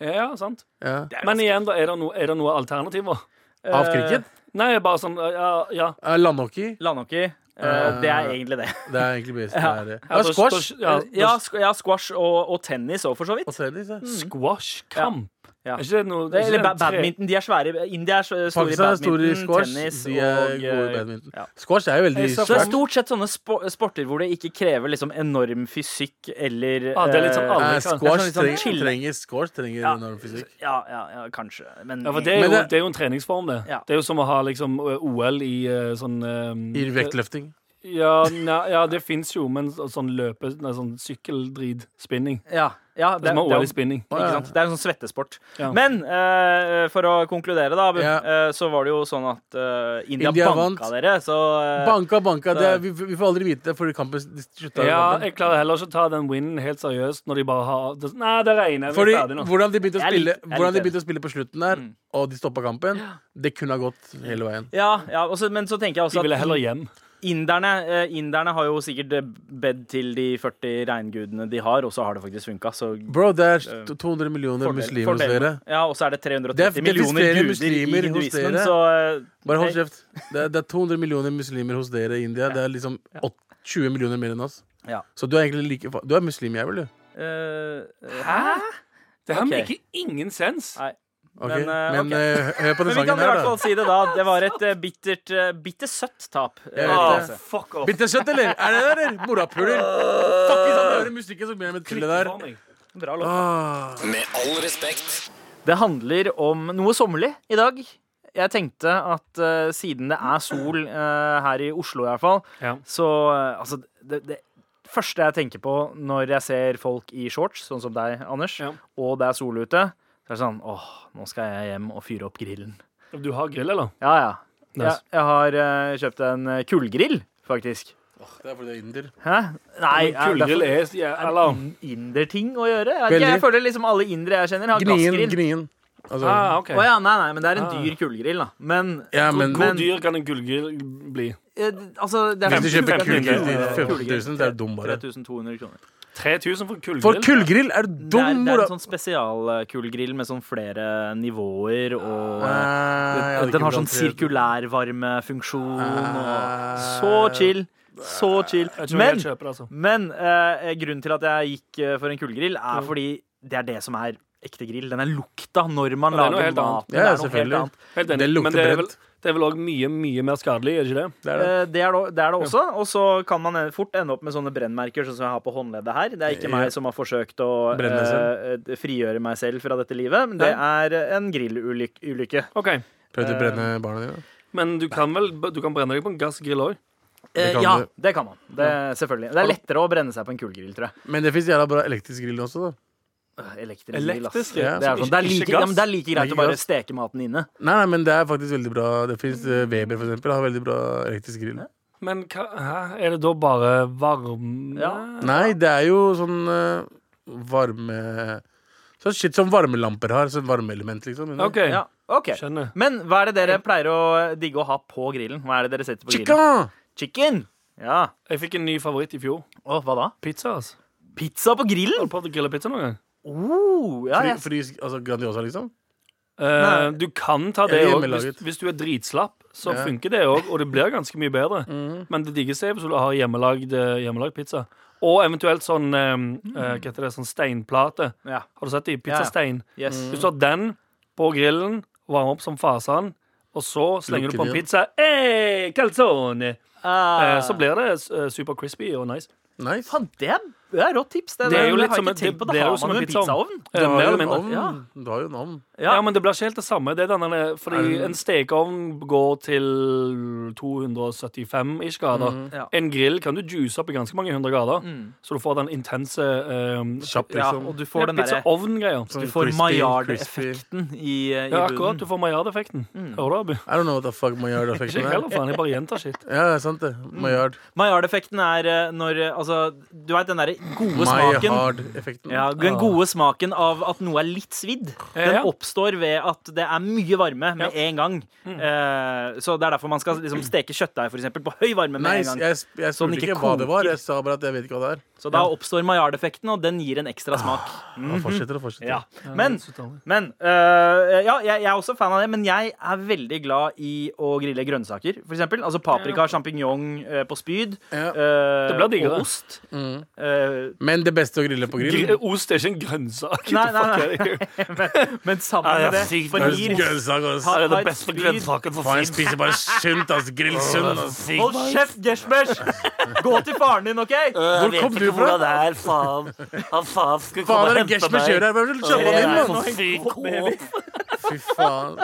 S5: Ja, ja, sant.
S6: Ja.
S5: Men igjen, da, er det, no, er det noe alternativer?
S6: Av
S3: Eh,
S6: cricket?
S5: Nei, bare sånn Ja. ja.
S6: Eh, Landhockey.
S3: Landhockey. eh,
S6: Eh,
S3: det er egentlig det.
S6: Det er egentlig best.
S3: Ja.
S6: Det er,
S5: Ja,
S6: ja,
S5: da-
S6: squash.
S5: da- ja,
S3: Eh, ja, sk ja, squash og, og tennis òg, for så vidt.
S6: Og tennis, ja.
S5: Squashkamp.
S3: Ja.
S5: Er ikke det noe
S3: Det-
S5: er ikke
S3: Eller
S5: det
S3: ba
S5: tre-
S3: badminton. De er svære. India er s- store i
S6: Pakistan er store i
S3: badminton,
S6: squash.
S3: tennis
S6: De er
S3: og
S6: gode i
S3: eh,
S6: badminton.
S3: ja.
S6: Squash er jo veldig
S5: Jeg så
S3: Så det er
S6: svært.
S3: stort sett sånne spo sporter hvor det ikke krever liksom enorm fysikk eller
S5: Ah, det er litt sånn
S3: eh,
S5: alle-
S6: Eh,
S5: Det er sånn
S6: squash
S3: litt sånn
S6: trenger,
S3: chill.
S6: trenger, squash trenger
S3: Ja.
S6: enorm fysikk.
S3: Ja, ja, ja, kanskje. Men
S5: Ja, for det er,
S6: Men
S5: jo,
S6: det-
S5: det er jo en treningsform, det.
S3: Ja.
S5: Det er jo som å ha liksom ø, OL i ø, sånn
S3: Mm.
S5: ø,
S6: I vektløfting.
S5: Ja, nei, ja det fins jo, men så- sånn løpe... Nei, sånn sykkeldrit. Spinning.
S3: ja, ja,
S5: Det er som å ha OL i spinning.
S6: Å, ja.
S3: Ikke sant? Det er en sånn svettesport.
S5: Ja.
S3: Men eh, for å konkludere, da, Abu,
S6: Ja.
S3: eh, så var det jo sånn at eh, India,
S6: India
S3: banka
S6: vant.
S3: dere, så eh,
S6: Banka, banka. Det er,
S3: så-
S6: vi, vi får aldri vite det fordi kampen s- slutta.
S5: Ja,
S6: kampen.
S5: jeg klarer heller ikke å ta den winnen helt seriøst når de bare har det- sånn, Nei, det regner. Vi
S6: Fordi
S5: er ferdig nå.
S6: Hvordan de begynte å
S3: Jeg er
S6: spille,
S3: litt- jeg er
S6: hvordan de
S3: litt Mm.
S6: begynte å spille på slutten der, og de stoppa kampen, det kunne ha gått hele veien.
S3: Ja, ja og så- men så tenker jeg
S5: De
S3: også
S5: ville
S3: at
S5: heller hjem.
S3: inderne, eh, inderne har jo sikkert eh, bedt til de 40 regngudene de har, og så har det faktisk funka. Så
S6: Bro, det er t- 200 millioner
S3: fordel-
S6: muslimer hos
S3: fordel-
S6: dere.
S3: Ja, og så er det
S6: Det er-
S3: 330
S6: det
S3: millioner
S6: eksisterer
S3: guder
S6: muslimer
S3: i
S6: hos
S3: hinduismen,
S6: dere.
S3: så eh,
S6: Bare
S3: hei.
S6: hold kjeft. Det er, det er 200 millioner muslimer hos dere i India. Det er liksom åt- 20 millioner mer enn oss.
S3: Ja.
S6: Så du er egentlig like fa- Du er muslim, jeg, vel, du?
S3: eh,
S5: Hæ? Det her
S3: Ok.
S5: maker ingen sens.
S3: Nei.
S6: Ok,
S3: Men,
S6: Men,
S3: eh, ok.
S6: eh, hør på den
S3: Men vi
S6: sangen
S3: kan i
S6: her,
S3: hvert
S6: da.
S3: fall si det, da. Det var et eh, bittert, eh, bitte søtt tap. eh,
S6: Jeg vet
S5: Ah,
S6: det.
S5: fuck off.
S6: Bitterkjøtt, eller? Er det det, eller? Morapuler. Fuck, hvis han hører musikken, så blir han med til det der.
S5: For meg.
S3: Bra låt.
S6: Ah.
S1: Med all respekt.
S3: Det handler om noe sommerlig i dag. Jeg tenkte at eh, siden det er sol eh, her i Oslo i hvert fall,
S5: Ja.
S3: så eh, altså det, det første jeg tenker på når jeg ser folk i shorts, sånn som deg, Anders,
S5: Ja.
S3: og det er sol ute, så er det sånn åh, nå skal jeg hjem og fyre opp grillen.
S5: Du har grill, eller?
S3: Ja, ja. Jeg,
S5: Nice.
S3: jeg har eh, kjøpt en eh, kullgrill, faktisk.
S6: Det er fordi det er inder.
S3: Hæ? Nei,
S5: Men Kullgrill
S3: er
S5: er ja, Eller
S3: inderting å gjøre. Jeg, vet ikke, jeg
S6: Veldig.
S3: føler liksom alle indere jeg kjenner, har
S6: Gnien,
S3: gassgrill.
S6: gnien. Altså,
S5: Ah, ok.
S3: Å ja, nei, nei, men det er en
S5: Ah.
S3: dyr kullgrill, da. Men,
S6: ja, men
S5: Hvor dyr kan en gullgrill bli?
S3: eh, altså det er
S6: hvis du kjøper
S5: 15 000,
S6: kullgrill til
S5: ja.
S6: 15 000, så er du dum, bare.
S3: 3200 kroner.
S5: 3000 for en kullgrill?
S6: For kullgrill er du
S3: Det er,
S6: dum,
S3: det er
S6: mora!
S3: en sånn spesialkullgrill med sånn flere nivåer og
S6: Ah, Nei, jeg hadde ikke
S3: Den har sånn
S6: blant tre.
S3: sirkulærvarmefunksjon
S6: Ah.
S3: og Så chill. Så chill.
S5: Jeg tror
S3: Men,
S5: jeg kjøper, Mm. det, altså.
S3: men eh, grunnen til at jeg gikk eh, for en kullgrill, er fordi det er det som er ekte grill. Den er lukta når man
S5: Ja, det er noe
S3: lager
S5: helt annet.
S3: maten.
S6: Ja,
S3: det er noe helt
S6: selvfølgelig.
S3: annet.
S5: Helt enig.
S6: Det lukter
S5: Men det er vel-
S6: brent.
S5: det er vel òg mye, mye mer skadelig, er det ikke det?
S6: Det er det.
S3: Eh, Det er det, det er det også. Og så kan man eh, fort ende opp med sånne brennmerker sånn som jeg har på håndleddet her. Det er ikke
S6: Ja.
S3: meg som har forsøkt å
S6: Brenne meg
S3: eh, frigjøre meg selv fra dette livet, men det er eh, en grillulykke.
S5: Ok,
S6: Prøvde å brenne barna dine.
S5: Men du kan vel du kan brenne deg på en gassgrill òg?
S6: Det kan
S3: Eh, ja,
S6: du.
S3: det kan man. Det, selvfølgelig. Det er lettere å brenne seg på en kullgrill, tror jeg.
S6: Men det fins jævla bra elektrisk grill også, da.
S3: Øh, Elektrisk grill, ass.
S5: Elektrisk,
S3: Det
S6: ja.
S3: er, sånn, det er,
S5: Ikke- ikke
S3: like, ja, men det er
S5: gass.
S3: like greit
S6: Ikke
S3: å bare
S6: gass.
S3: steke maten inne.
S6: Nei, nei, men det er faktisk veldig bra. Det fins Weber, for eksempel, har veldig bra elektrisk grill.
S5: Men hva, hæ? er det da bare varm
S3: Ja.
S6: Nei, det er jo sånn eh, varme Sånn shit som varmelamper har. Sånn varmeelement, liksom.
S5: OK.
S3: Ja, ok.
S5: Skjønner.
S3: Men hva er det dere pleier å eh, digge å ha på grillen? Hva er det dere setter på grillen?
S6: Chica!
S3: Chicken! Ja.
S5: Jeg fikk en ny favoritt i fjor.
S3: Å, hva da?
S5: Pizza. altså
S3: Pizza på
S5: Har
S3: grillen?
S5: du prøvd å grille pizza noen gang?
S3: Oh, ja,
S6: Fry,
S3: jeg
S6: frys, altså Grandiosa, liksom?
S5: Eh,
S3: Nei.
S5: du kan ta det
S6: Eller
S5: òg.
S6: hjemmelaget.
S5: Hvis, hvis du er dritslapp, så
S6: Ja.
S5: funker det òg. Og det blir ganske mye bedre.
S3: Mm.
S5: Men det diggeste er hvis du har hjemmelagd, eh, hjemmelagd pizza. Og eventuelt sånn eh, eh, Hva heter det? Sånn steinplate.
S3: Mm. Ja,
S5: Har du sett de?
S3: ja.
S5: Pizzastein.
S3: yes.
S5: Hvis du har den på grillen, varmer opp som fasen, og så slenger
S6: Lukker
S5: du på en
S6: den.
S5: pizza hey, calzone,
S3: Ah.
S5: eh, så blir det eh, super crispy og nice.
S6: Nice.
S3: Faen, det er, det er rått tips. Det,
S5: Det er jo
S3: jeg
S5: litt
S3: har
S5: som
S3: ikke
S5: en- det
S3: tenkt på det.
S5: blir jo
S3: Har
S5: som
S3: man jo
S5: en
S3: en
S5: pizzaovn.
S3: pizzaovn?
S5: Eh, mer eller mindre.
S6: ovn.
S3: ja.
S6: Du har jo en ovn.
S5: Ja.
S3: Ja.
S5: men det blir ikke helt det samme. Det er denne, fordi
S6: Er det-
S5: En stekeovn går til 275 ish grader.
S3: Mm. Ja.
S5: En grill kan du juice opp i ganske mange hundre grader, så du får den intense eh,
S6: Kjapt,
S3: ja,
S6: liksom.
S3: og du får den eh, derre
S5: pizzaovn-greia.
S6: Sånn
S3: Du får
S6: crispy, crispy.
S3: Maillard-effekten i, eh, i
S5: Ja, akkurat.
S3: bunnen. Mm.
S5: Du får Maillard-effekten. Hører du, Abu?
S6: I don't know what the fuck
S5: Ikke
S6: Maillard-effekten
S5: jeg
S6: er.
S5: heller, faen. Jeg bare gjentar shit.
S6: Ja, det er sant, det.
S3: Mm.
S6: Maillard.
S3: Maillard-effekten er eh, når eh, Altså, du veit den derre gode smaken
S6: Maillard-effekten.
S3: ja, Den gode smaken av at noe er litt svidd. Den
S5: Ja.
S3: oppstår ved at det er mye varme med en gang.
S5: Mm.
S3: Eh, så det er derfor man skal liksom steke kjøttdeig for eksempel, på høy varme med
S6: Nice.
S3: en gang.
S6: Jeg, sp- jeg
S3: Sånn
S6: spurte
S3: ikke
S6: ikke hva det var.
S3: koker.
S6: Jeg sa bare at jeg vet ikke hva det er.
S3: Så da oppstår Maillard-effekten, og den gir en
S6: Ah.
S3: ekstra smak.
S6: Ja, fortsetter og
S3: Mhm.
S6: fortsetter.
S3: Ja. Men, men øh, Ja, jeg, jeg er også fan av det, men jeg er veldig glad i å grille grønnsaker, for eksempel. Altså paprika, sjampinjong øh, på spyd.
S6: Ja.
S3: øh,
S5: Det blir diggere.
S3: Og ost. Øh,
S6: Men det beste å grille på grill
S5: Gri- Ost er ikke en grønnsak.
S3: Nei, nei, nei.
S5: Fuck, er det ikke?
S3: men sammen
S5: Ja,
S3: med
S5: det er
S3: det
S5: sykt
S3: forgir
S6: Grønnsak, ass.
S3: Ha- ha
S5: Det er det
S3: et
S5: beste
S3: spyd.
S5: grønnsaken for
S6: Faen, jeg
S5: fisk.
S6: spiser bare sunt, ass. Grill sunt. ass.
S3: Hold kjeft, Gersbers! Gå til faren din, OK?
S5: Eh,
S6: Hvor kom du fra?
S5: det er, faen. Han faen skulle
S6: Faen, det er Gesh med kjøret her. Hvem vil kjøpe han inn,
S3: Ja,
S6: mann?
S5: altså.
S3: nå-
S6: Fy faen.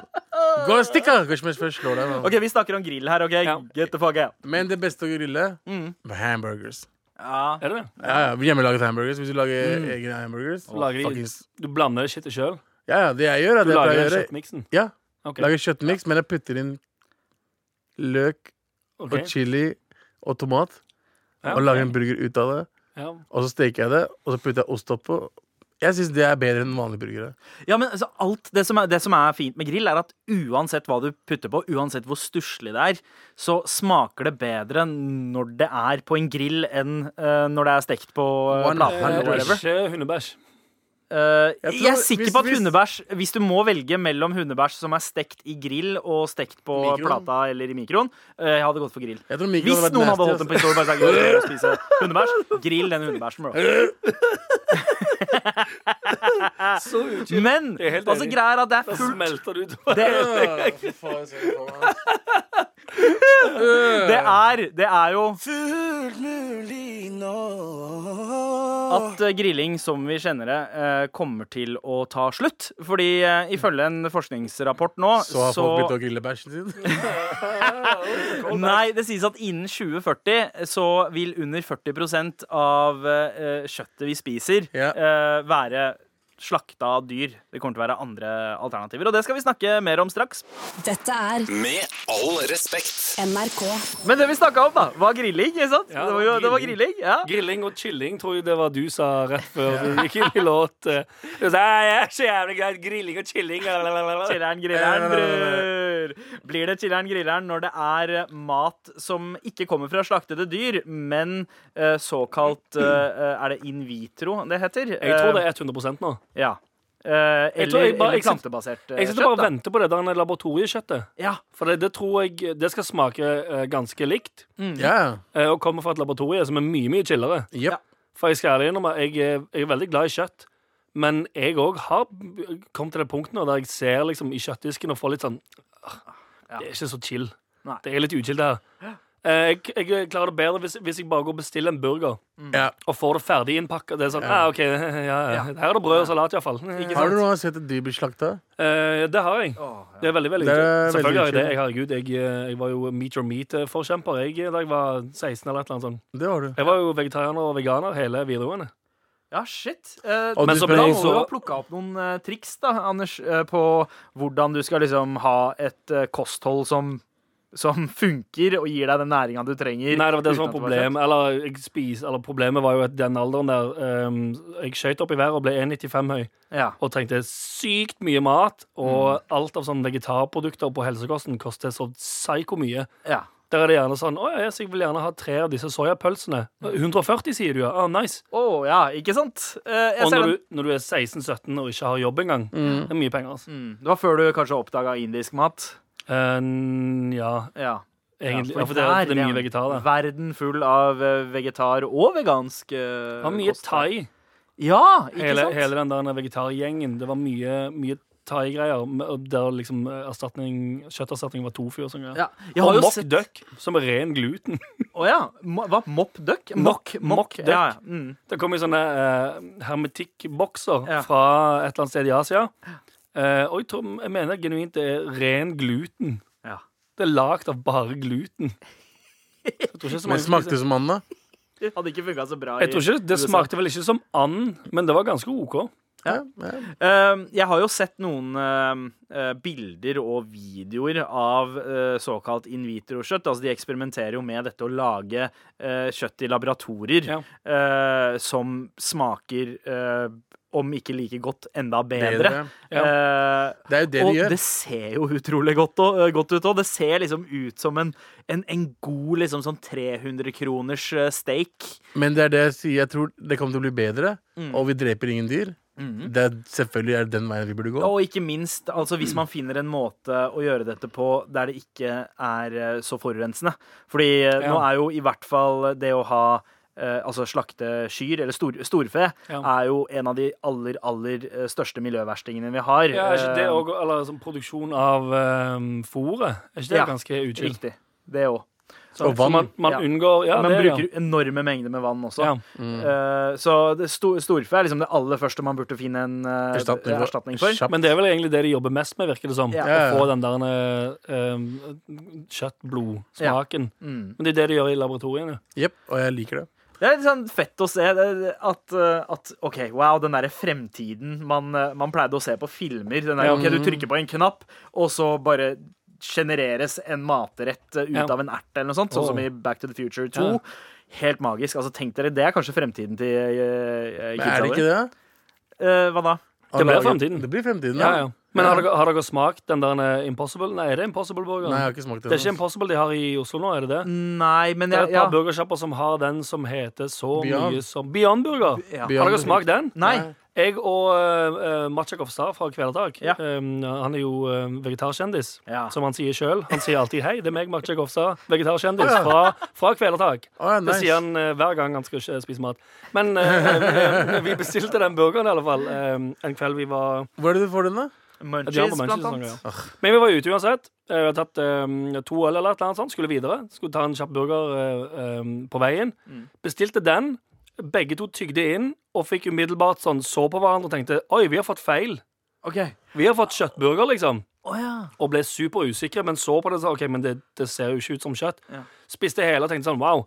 S6: Gå og stikk av. Gesh med kjøret slår deg, mann.
S3: OK, vi snakker om grill her, OK?
S5: Ja.
S3: Get the fuck out.
S6: Men det beste å grille
S5: Mm.
S6: hamburgers.
S3: Ja.
S5: Er det det?
S6: Ja, ja, Hjemmelaget hamburgers. Hvis du lager egne hamburgers
S5: Mm. Du lager de-
S6: Fuckings-
S5: Du blander shitet sjøl?
S6: Ja, ja, det jeg gjør,
S5: Du
S6: er det jeg
S5: lager
S6: pleier å gjøre.
S5: kjøttmiksen?
S6: Ja,
S5: Ok,
S6: Lager kjøttmiks, men jeg putter inn løk
S5: ok.
S6: og chili og tomat.
S5: Ja,
S6: Og lager en burger ut av det.
S5: ja.
S6: Og så steker jeg det, og så putter jeg ost oppå. Jeg syns det er bedre enn vanlige burgere.
S3: Ja, men altså, alt det som, er, det som er fint med grill, er at uansett hva du putter på, uansett hvor stusslig det er, så smaker det bedre når det er på en grill enn eh, når det er stekt på uh,
S6: One
S3: platen
S6: hundred
S3: eller whatever.
S6: whatever.
S5: Eh, Ikke hundebæsj.
S3: Eh,
S6: Jeg tror-
S3: jeg er sikker på at
S6: hvis- hvis-
S3: hundebæsj Hvis du må velge mellom hundebæsj som er stekt i grill, og stekt på
S6: Mikroen.
S3: plata eller i mikroen, eh, jeg hadde gått for grill.
S6: Jeg tror Mikkel
S3: Hvis
S6: hadde vært
S3: noen hadde
S6: nasty,
S3: holdt en
S6: altså.
S3: pistol og bare sagt «Gå ned og spise hundebæsj, grill den hundebæsjen, bro.
S5: Så utkyld.
S3: Men
S5: Jeg er helt
S3: altså,
S5: enig.
S3: greia er at det er
S5: Da
S3: fullt
S5: smelter du ut.
S3: det,
S6: Ja, fy faen, jeg ser på meg.
S3: det, er, det er jo at eh, grilling som vi kjenner det, eh, kommer til å ta slutt. Fordi eh, ifølge en forskningsrapport nå,
S6: Så har folk begynt å grille bæsjen sin?
S3: Nei, det sies at innen 2040 så vil under 40 av eh, eh, kjøttet vi spiser,
S6: Ja.
S3: eh, være slakta dyr. Det kommer til å være andre alternativer, og det skal vi snakke mer om straks.
S2: Dette er
S1: Med all respekt.
S2: NRK.
S3: Men det vi snakka om, da, var grilling, ikke sant?
S5: Ja,
S3: det, var, jo- det var grilling,
S5: grilling.
S3: ja.
S5: Grilling og chilling tror jeg det var du sa rett før du gikk inn i låt. Eh, Du sa «Nei, det er så jævlig greit. Grilling og chilling. lalalala».
S3: Chiller'n, grilleren, bror. Blir det chiller'n, grilleren når det er eh, mat som ikke kommer fra slaktede dyr, men eh, såkalt eh, Er det in vitro det heter?
S5: Jeg tror det er 100 nå.
S3: Ja. Eh,
S5: Jeg tror
S3: eller,
S5: jeg bare-
S3: eller
S5: jeg sitter-
S3: plantebasert eh,
S5: Jeg sitter bare og
S3: da.
S5: venter på det der med laboratoriekjøttet.
S3: Ja.
S5: For det, det tror jeg Det skal smake eh, ganske likt.
S6: Ja.
S5: eh, Og kommer fra et laboratorie som er mye, mye chillere.
S6: Jepp.
S5: For jeg skal ærlig innrømme, jeg, er- jeg er veldig glad i kjøtt. Men jeg òg har kommet til det punktet nå der jeg ser liksom i kjøttdisken og får litt sånn «Ah, Det er ikke så chill.
S3: Nei.
S5: Det er litt uchill, det her. Eh, Jeg, jeg klarer det bedre hvis, hvis jeg bare går og bestiller en burger
S6: Ja.
S5: og får det ferdig innpakka. Det er sånn,
S6: Ja.
S5: ah, ok, ja, ja. Her er det brød og salat, iallfall.
S6: Har du noen gang sett et dyr bli slakta?
S5: Eh, det har jeg. Det er veldig, veldig
S6: Det er
S5: uchill.
S6: veldig
S5: Selvfølgelig har jeg det.
S6: uchill.
S5: Jeg, herregud, jeg, eh, jeg var jo Meet Your Meat-forkjemper eh, jeg, da jeg var 16 eller et eller annet sånt.
S6: Det har du.
S5: Jeg var jo vegetarianer og veganer hele videregående.
S3: ja, shit. Eh,
S6: Og
S3: men
S6: du
S3: så
S6: spør
S3: bra
S5: også-
S3: må du ha plukka opp noen eh, triks, da, Anders, eh, på hvordan du skal liksom ha et eh, kosthold som som funker og gir deg den næringa du trenger.
S5: Nei, det var det som
S3: uten
S5: var
S3: at
S5: problemet. Eller, jeg spis, eller problemet var jo at den alderen der ehm, Jeg skøyt opp i været og ble 1,95 høy
S3: kjøtt. Ja.
S5: og trengte sykt mye mat. Og alt av sånne vegetarprodukter på helsekosten koster så psyko mye.
S3: ja.
S5: Der er det gjerne sånn Å ja, så jeg vil gjerne ha tre av disse soyapølsene. 140, sier du, ja. Ah, nice.
S3: Å ja, ikke sant? Eh, jeg
S5: Og
S3: ser
S5: når
S3: den.
S5: du, når du er 16-17 og ikke har jobb engang, det er mye penger, altså.
S3: Det var før du kanskje oppdaga indisk mat.
S5: Eh, ja,
S3: Ja.
S5: egentlig.
S3: Ja,
S5: Ja, for det, er- det er mye vegetar, det.
S3: Verden full av eh, vegetar og vegansk uh,
S5: Det var mye thai.
S3: Ja, ikke
S5: hele,
S3: sant?
S5: hele den der vegetargjengen. Det var mye, mye thai-greier. med- Der liksom eh, erstatning, kjøtterstatning var tofu og
S3: Ja.
S5: sånn. greier.
S3: Jeg har
S5: Og
S3: jo
S5: mock
S3: sett-
S5: duck, som er ren gluten.
S3: Å ja. Mo- Hva? Mopp duck?
S5: Mock-
S3: Mock-
S5: mock
S3: mock,
S5: duck.
S3: Ja, ja. Mm.
S5: Det kom i sånne eh, hermetikkbokser
S3: Ja.
S5: fra et eller annet sted i Asia. Eh, og jeg, tror, jeg mener genuint det er ren gluten.
S3: Ja.
S5: Det er lagd av bare gluten. Jeg tror ikke, så mange
S6: Men smakte
S5: spiser-
S6: det som anda?
S3: Det hadde ikke funka så bra. i-
S5: jeg tror ikke Det
S3: USA.
S5: smakte vel ikke som and, men det var ganske OK.
S6: Ja. ja.
S3: Eh, jeg har jo sett noen eh, eh, bilder og videoer av eh, såkalt in vitro-kjøtt. Altså, de eksperimenterer jo med dette å lage eh, kjøtt i laboratorier
S5: Ja.
S3: eh, som smaker eh, om ikke like godt, enda bedre.
S6: Bedre,
S3: Eh,
S6: Det er jo det de
S3: og
S6: gjør.
S3: det ser jo utrolig godt, og, godt ut òg. Det ser liksom ut som en, en, en god liksom sånn 300 kroners eh, steak.
S6: Men det er det jeg sier. Jeg tror det kommer til å bli bedre, og vi dreper ingen dyr. Det er selvfølgelig er det den veien vi burde gå.
S3: Og ikke minst, altså hvis man finner en måte å gjøre dette på der det ikke er eh, så forurensende. Fordi eh, nå
S5: Ja.
S3: er jo i hvert fall det å ha eh, altså slakte kyr, eller stor, storfe,
S5: Ja.
S3: er jo en av de aller, aller eh, største miljøverstingene vi har.
S5: Ja, er ikke det
S3: Eh,
S5: og, eller sånn produksjon av um, fôret? Er ikke det
S3: Ja,
S5: ganske uchill?
S3: Riktig. Det òg.
S5: Så
S6: Og vann.
S5: Man, man
S3: Ja.
S5: unngår Ja,
S3: Man
S5: det,
S3: bruker enorme mengder med vann også.
S5: ja.
S6: Mm.
S3: Eh, så det sto, storfe er liksom det aller første man burde finne en eh,
S6: Erstatning for-
S3: erstatning for.
S5: ja. Men det er vel egentlig det de jobber mest med, virker det som.
S3: Ja.
S6: Ja,
S5: Å få
S6: ja.
S5: den der um, kjøtt-blod-smaken.
S3: Mm.
S5: Men det er det de gjør i laboratoriene.
S6: Jepp, og jeg liker det.
S3: Det er litt sånn fett å se det- at, eh, at OK, wow, den derre fremtiden man, eh, man pleide å se på filmer. Den der,
S5: Ja.
S3: OK, du
S6: Mm.
S3: trykker på en knapp, og så bare genereres en matrett eh, ut
S5: Ja.
S3: av en ert eller noe sånt, sånn
S5: Åh.
S3: som i Back to the Future 2.
S5: Ja.
S3: Helt magisk. altså Tenk dere, Det er kanskje fremtiden til uh,
S6: Men er det ikke det?
S3: Eh, hva da?
S6: Å
S5: Det blir
S6: lage-
S5: fremtiden.
S6: Det blir fremtiden,
S5: Ja, ja. Men har dere, har dere smakt den der eh, Impossible? Nei, er det Impossible-burgeren?
S6: Nei, jeg har ikke smakt det.
S5: Det er ikke Impossible de har i Oslo nå, er det det?
S3: Nei, men
S5: Det er
S3: jeg,
S5: et
S3: ja.
S5: par burgersjapper som har den som heter så
S6: Beyond.
S5: mye som Beyond Burger.
S3: Ja.
S5: Har
S6: Beyond
S5: dere
S6: Burger.
S5: smakt den?
S3: Nei.
S5: Jeg og uh, Macha Kofstad fra Kvelertak.
S3: Ja.
S5: Um, han er jo eh, vegetarkjendis,
S3: Ja.
S5: som han sier sjøl. Han sier alltid 'hei, det er meg, Macha Kofstad, vegetarkjendis fra, fra Kvelertak'.
S6: Å, ja,
S5: Det
S6: nice.
S5: sier han eh, hver gang han skal ikke spise mat. Men eh, eh, vi bestilte den burgeren i alle fall eh, en kveld vi var
S6: Hvor er det du får den, da?
S5: de har
S3: Munchies,
S5: på
S3: blant
S5: Manchester,
S3: annet.
S5: sånn, ja. Men vi var ute uansett. Eh, Vi hadde tatt eh, to øl eller et eller annet sånt. Skulle videre. Skulle ta en kjapp burger eh, eh, på veien.
S3: Mm.
S5: Bestilte den. Begge to tygde inn og fikk umiddelbart sånn så på hverandre og tenkte Oi, vi har fått feil.
S3: OK.
S5: Vi har fått kjøttburger, liksom.
S3: Å ja.
S5: Og ble superusikre, men så på det og sa OK, men det, det ser jo ikke ut som kjøtt.
S3: Ja.
S5: Spiste hele og tenkte sånn Wow,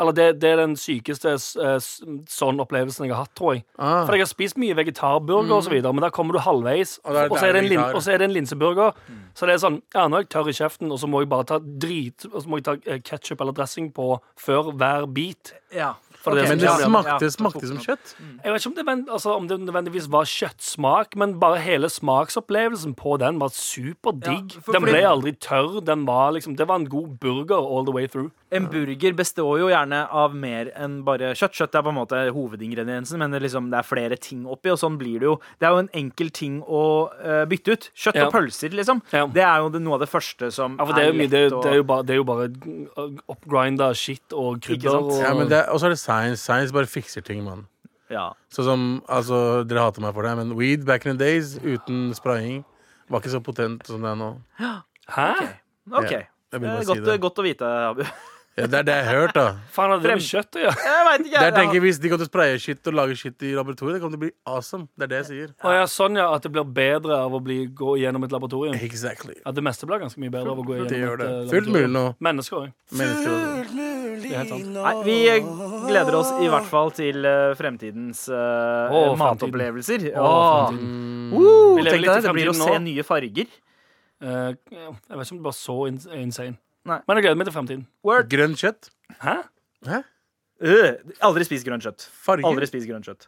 S5: Eller det, det er den sykeste s- eh, s- sånn opplevelsen jeg har hatt, tror jeg.
S6: Ah. Mm.
S5: For jeg har spist mye vegetarburger og så videre men der kommer du halvveis,
S6: Og da er det
S5: og så er det en, lin
S6: vegetar. Mm.
S5: og så er det en linseburger. Så det er sånn Ja, nå er jeg tørr i kjeften, og så må jeg bare ta drit Og så må jeg ta ketsjup eller dressing på før hver bit.
S3: Ja.
S5: For det
S3: Ok,
S5: er som
S6: Men det
S3: ja,
S5: skjer.
S3: ja, ja.
S6: smakte, smakte som kjøtt.
S5: Jeg vet ikke om det, men, altså, om det nødvendigvis var kjøttsmak, men bare hele smaksopplevelsen på den var superdigg.
S3: Ja, for-
S5: den ble
S3: fordi-
S5: aldri tørr. Den var liksom, det var en god burger all the way through.
S3: En burger består jo gjerne av mer enn bare kjøtt. Kjøtt er på en måte hovedingrediensen, men det, er liksom, det er flere ting oppi, og sånn blir det jo. Det er jo en enkel ting å eh, bytte ut. Kjøtt
S5: Ja.
S3: og pølser, liksom.
S5: Ja.
S3: Det er jo det, noe av det første som
S5: Ja, for det er, jo mye-
S3: lett
S5: det, er jo-
S3: å-
S5: det er jo bare, det er jo bare oppgrinda shit og
S3: Ikke
S5: krydder
S3: sant?
S5: og
S6: Ja, men det, er- og så er det science. Science bare fikser ting, mann.
S3: ja.
S6: Sånn som, altså, Dere hater meg for det, men weed back in the days uten spraying var ikke så potent som det er nå.
S5: Hæ?
S3: OK.
S6: Ja, jeg
S3: det
S6: vil bare
S3: er
S6: si
S3: godt,
S6: det.
S3: godt å vite, Abu.
S6: Ja, det er det jeg har hørt, da.
S5: Faen, hadde det med
S3: Frem-
S5: kjøtt å gjøre?
S3: Jeg vet ikke,
S6: Der
S3: jeg.
S6: tenker jeg, Hvis de kommer til å spraye shit og lage shit i laboratoriet, det kommer til å bli awesome. Det er det jeg sier.
S5: Å ja, sånn ja, at det blir bedre av å bli, gå gjennom et laboratorium.
S6: Exactly.
S5: Ja, det meste blir ganske mye bedre av å gå gjennom
S6: Det gjør
S5: et
S6: det.
S5: eh,
S6: Fullt mulig
S5: laboratorium.
S6: nå.
S5: Mennesker òg.
S6: Mennesker.
S5: Det er helt sant.
S3: Nei, vi eh, gleder oss i hvert fall til eh, fremtidens eh,
S5: Å,
S3: matopplevelser.
S5: Å,
S3: Åh.
S5: fremtiden.
S3: Woo,
S5: Mm. Vi lever
S3: tenk
S5: litt i
S3: deg, det blir å
S5: fremtiden
S3: se
S5: nå.
S3: nye farger.
S5: Eh, jeg vet ikke om det var så in insane.
S3: Nei.
S5: Men jeg gleder meg til fremtiden.
S3: Word.
S6: Grønt kjøtt.
S5: Hæ?
S6: Hæ?
S3: Øh, aldri spis grønt kjøtt. Aldri
S6: Farger.
S3: spis grønt kjøtt.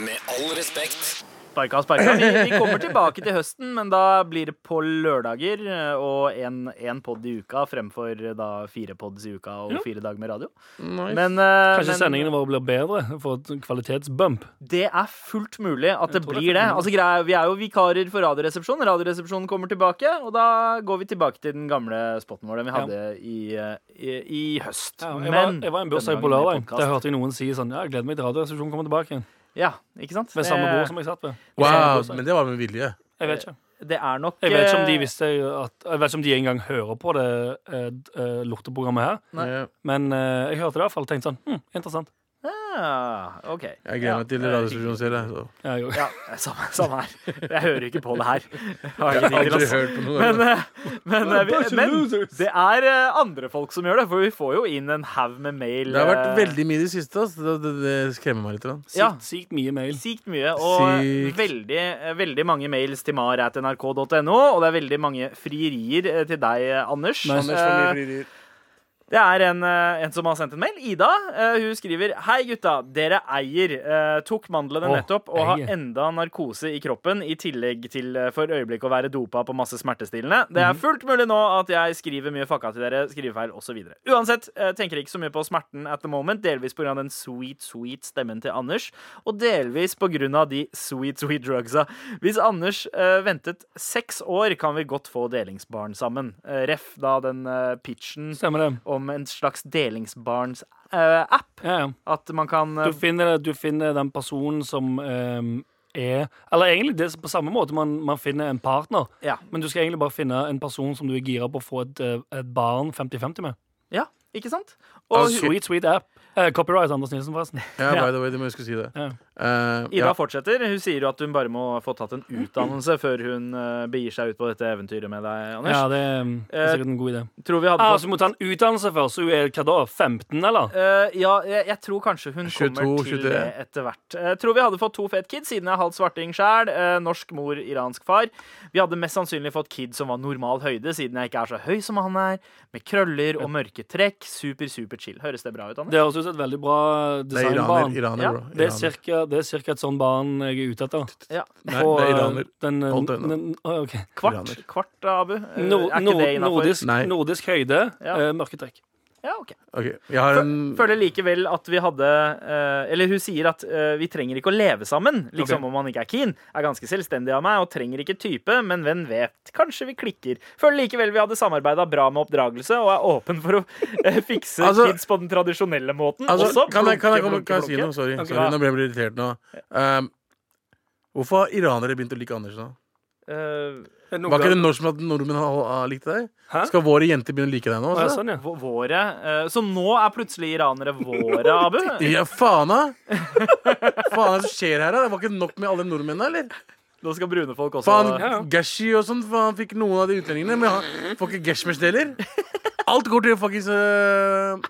S1: Med all respekt.
S3: Sparka, sparka. Vi, vi kommer tilbake til høsten, men da blir det på lørdager eh, og én pod i uka fremfor eh, da fire pods i uka og
S5: Ja.
S3: fire dager med radio.
S6: Nice.
S3: Men, eh,
S5: Kanskje
S3: men
S5: sendingene våre blir bedre? Får et kvalitetsbump?
S3: det er fullt mulig at det
S5: tror
S3: blir
S5: det er
S3: det.
S5: fullt mulig.
S3: Altså, greia, vi er jo vikarer for Radioresepsjonen. Radioresepsjonen kommer tilbake, og da går vi tilbake til den gamle spotten vår den vi hadde i, eh, i, i høst.
S5: Ja, jeg, var, jeg var i en bursdag på lørdag. Der
S3: Der
S5: hørte jeg noen si sånn Ja, jeg gleder meg til Radioresepsjonen kommer tilbake igjen.
S3: Ja, ikke sant?
S5: Ved samme bord som jeg satt ved.
S6: Wow, men det var med vilje.
S5: Jeg vet ikke.
S3: Det er nok
S5: Jeg vet ikke om de
S3: eh,
S5: visste at Jeg vet ikke om de engang hører på det eh, d- eh, lorteprogrammet her,
S3: Nei.
S6: Ja.
S5: men eh, jeg hørte det i hvert fall. Tenkte sånn Hm, interessant.
S3: Ah, OK.
S6: Jeg
S3: Ja,
S6: gleder meg til
S3: det er
S6: radiostasjonen selv. jeg, så.
S5: Ja, jeg,
S3: Ja, samme, samme her. Jeg hører ikke på det her. Jeg har
S6: Jeg har
S3: ingenting til
S6: aldri
S3: oss.
S6: hørt på noe.
S3: Men, eh, men, eh, vi- men det er eh, andre folk som gjør det, for vi får jo inn en haug med mail.
S6: Det har vært
S3: eh,
S6: veldig mye i det siste. ass. Det, det, det skremmer meg litt. grann.
S5: Sykt,
S3: Ja.
S5: sykt mye mail.
S3: Sykt mye, og
S6: Sykt.
S3: veldig, eh, veldig mange mails til mar.nrk.no. Og det er veldig mange frierier eh, til deg, eh, Anders.
S5: Nice.
S6: Anders får mye
S3: Eh,
S6: frierier.
S3: Det er en, eh, en som har sendt en mail. Ida. eh, Hun skriver Hei, gutta. Dere eier. eh, Tok mandlene
S5: Å,
S3: nettopp og har
S5: eier.
S3: enda narkose i kroppen, i tillegg til eh, for øyeblikk å være dopa på masse smertestillende. Det er fullt mulig nå at jeg skriver mye fucka til dere, skrivefeil osv. Uansett, eh, tenker ikke så mye på smerten at the moment, delvis pga. den sweet, sweet stemmen til Anders, og delvis pga. de sweet, sweet drugsa. Hvis Anders eh, ventet seks år, kan vi godt få delingsbarn sammen. Eh, ref da den eh, pitchen
S5: Stemmer det.
S3: om en slags delingsbarns-app.
S5: Ja, ja.
S3: at man kan eh,
S5: Du finner, du finner den personen som ehm, er Eller egentlig det er på samme måte man, man finner en partner.
S3: Ja.
S5: Men du skal egentlig bare finne en person som du er gira på å få et, eh, et barn 50-50 med.
S3: ja, ikke sant?
S6: Ah,
S3: Og
S6: shit.
S3: hun-
S5: Sweet, sweet app. Eh, copyright Anders Nilsen, forresten.
S6: Ja, by the way, det må jeg huske å si det.
S5: Ja.
S6: Eh,
S3: Ida
S6: ja.
S3: fortsetter. Hun sier jo at hun bare må få tatt en utdannelse før hun eh, begir seg ut på dette eventyret med deg, Anders.
S5: Ja, det er, mm, det er sikkert en god idé.
S3: Tror vi hadde
S5: Ah,
S3: fått
S5: så må du ta en utdannelse først, så hun er hva da? 15, eller?
S3: Eh, ja, jeg, jeg tror kanskje hun
S6: 22,
S3: kommer til
S6: 23.
S3: det etter hvert. Eh, tror vi hadde fått to fete kids, siden jeg er halvt svarting sjæl. eh, norsk mor, iransk far. Vi hadde mest sannsynlig fått kid som var normal høyde, siden jeg ikke er så høy som han er. Med krøller og mørke trekk. Super, super chill. Høres det bra ut, Anders?
S5: Det høres ut som et veldig bra
S6: Det er iraner,
S5: designbarn.
S6: iraner
S3: Ja,
S6: bro.
S5: Det er
S6: Iraner.
S5: cirka, det er cirka et sånn barn jeg er ute etter.
S3: Ja.
S6: Nei,
S5: Og,
S6: det er
S5: eh,
S6: iraner.
S5: Den, eh,
S6: Hold deg unna.
S5: den, å, ok.
S3: Kvart,
S6: Iraner.
S3: kvart, Abu. Eh,
S5: Nor-
S3: er ikke
S5: nor-
S3: det innafor?
S5: nordisk,
S6: Nei.
S5: nordisk høyde,
S3: Ja.
S5: eh, mørketrekk.
S3: Ja, ok.
S6: Ok, Jeg har en
S3: Føler likevel at vi hadde eh, Eller hun sier at eh, vi trenger ikke å leve sammen, liksom
S6: Ok.
S3: om man ikke er keen. Er ganske selvstendig av meg og trenger ikke type, men hvem vet? Kanskje vi klikker. Føler likevel vi hadde samarbeida bra med oppdragelse og er åpen for å eh, fikse
S6: Altså-
S3: kids på den tradisjonelle måten
S6: altså,
S3: også.
S6: kan, jeg, kan, jeg, komme-
S3: Blunke,
S6: kan jeg
S3: blunke,
S6: si noe?
S3: blunke.
S6: Sorry.
S3: Ok.
S6: Sorry, Nå ble jeg litt irritert nå. Um, hvorfor har iranere begynt å like Anders nå?
S3: Eh,
S5: Er det noe
S6: Var ikke
S5: galt?
S6: det når som at nordmenn har, har likte deg?
S5: Hæ?
S6: Skal våre jenter begynne å like deg nå?
S5: Å, ja,
S6: Altså?
S5: sånn, ja.
S3: vå- våre eh, Så nå er plutselig iranere våre, Abu?
S6: Ja, faen da! Faen, hva skjer her? da? Det var ikke nok med alle nordmennene, eller?
S3: Nå skal brune folk også
S6: Faen,
S5: Ja, ja.
S6: Gashi og sånn faen, fikk noen av de utlendingene, men han får ikke Gashmesh deler. Alt går til fuckings øh,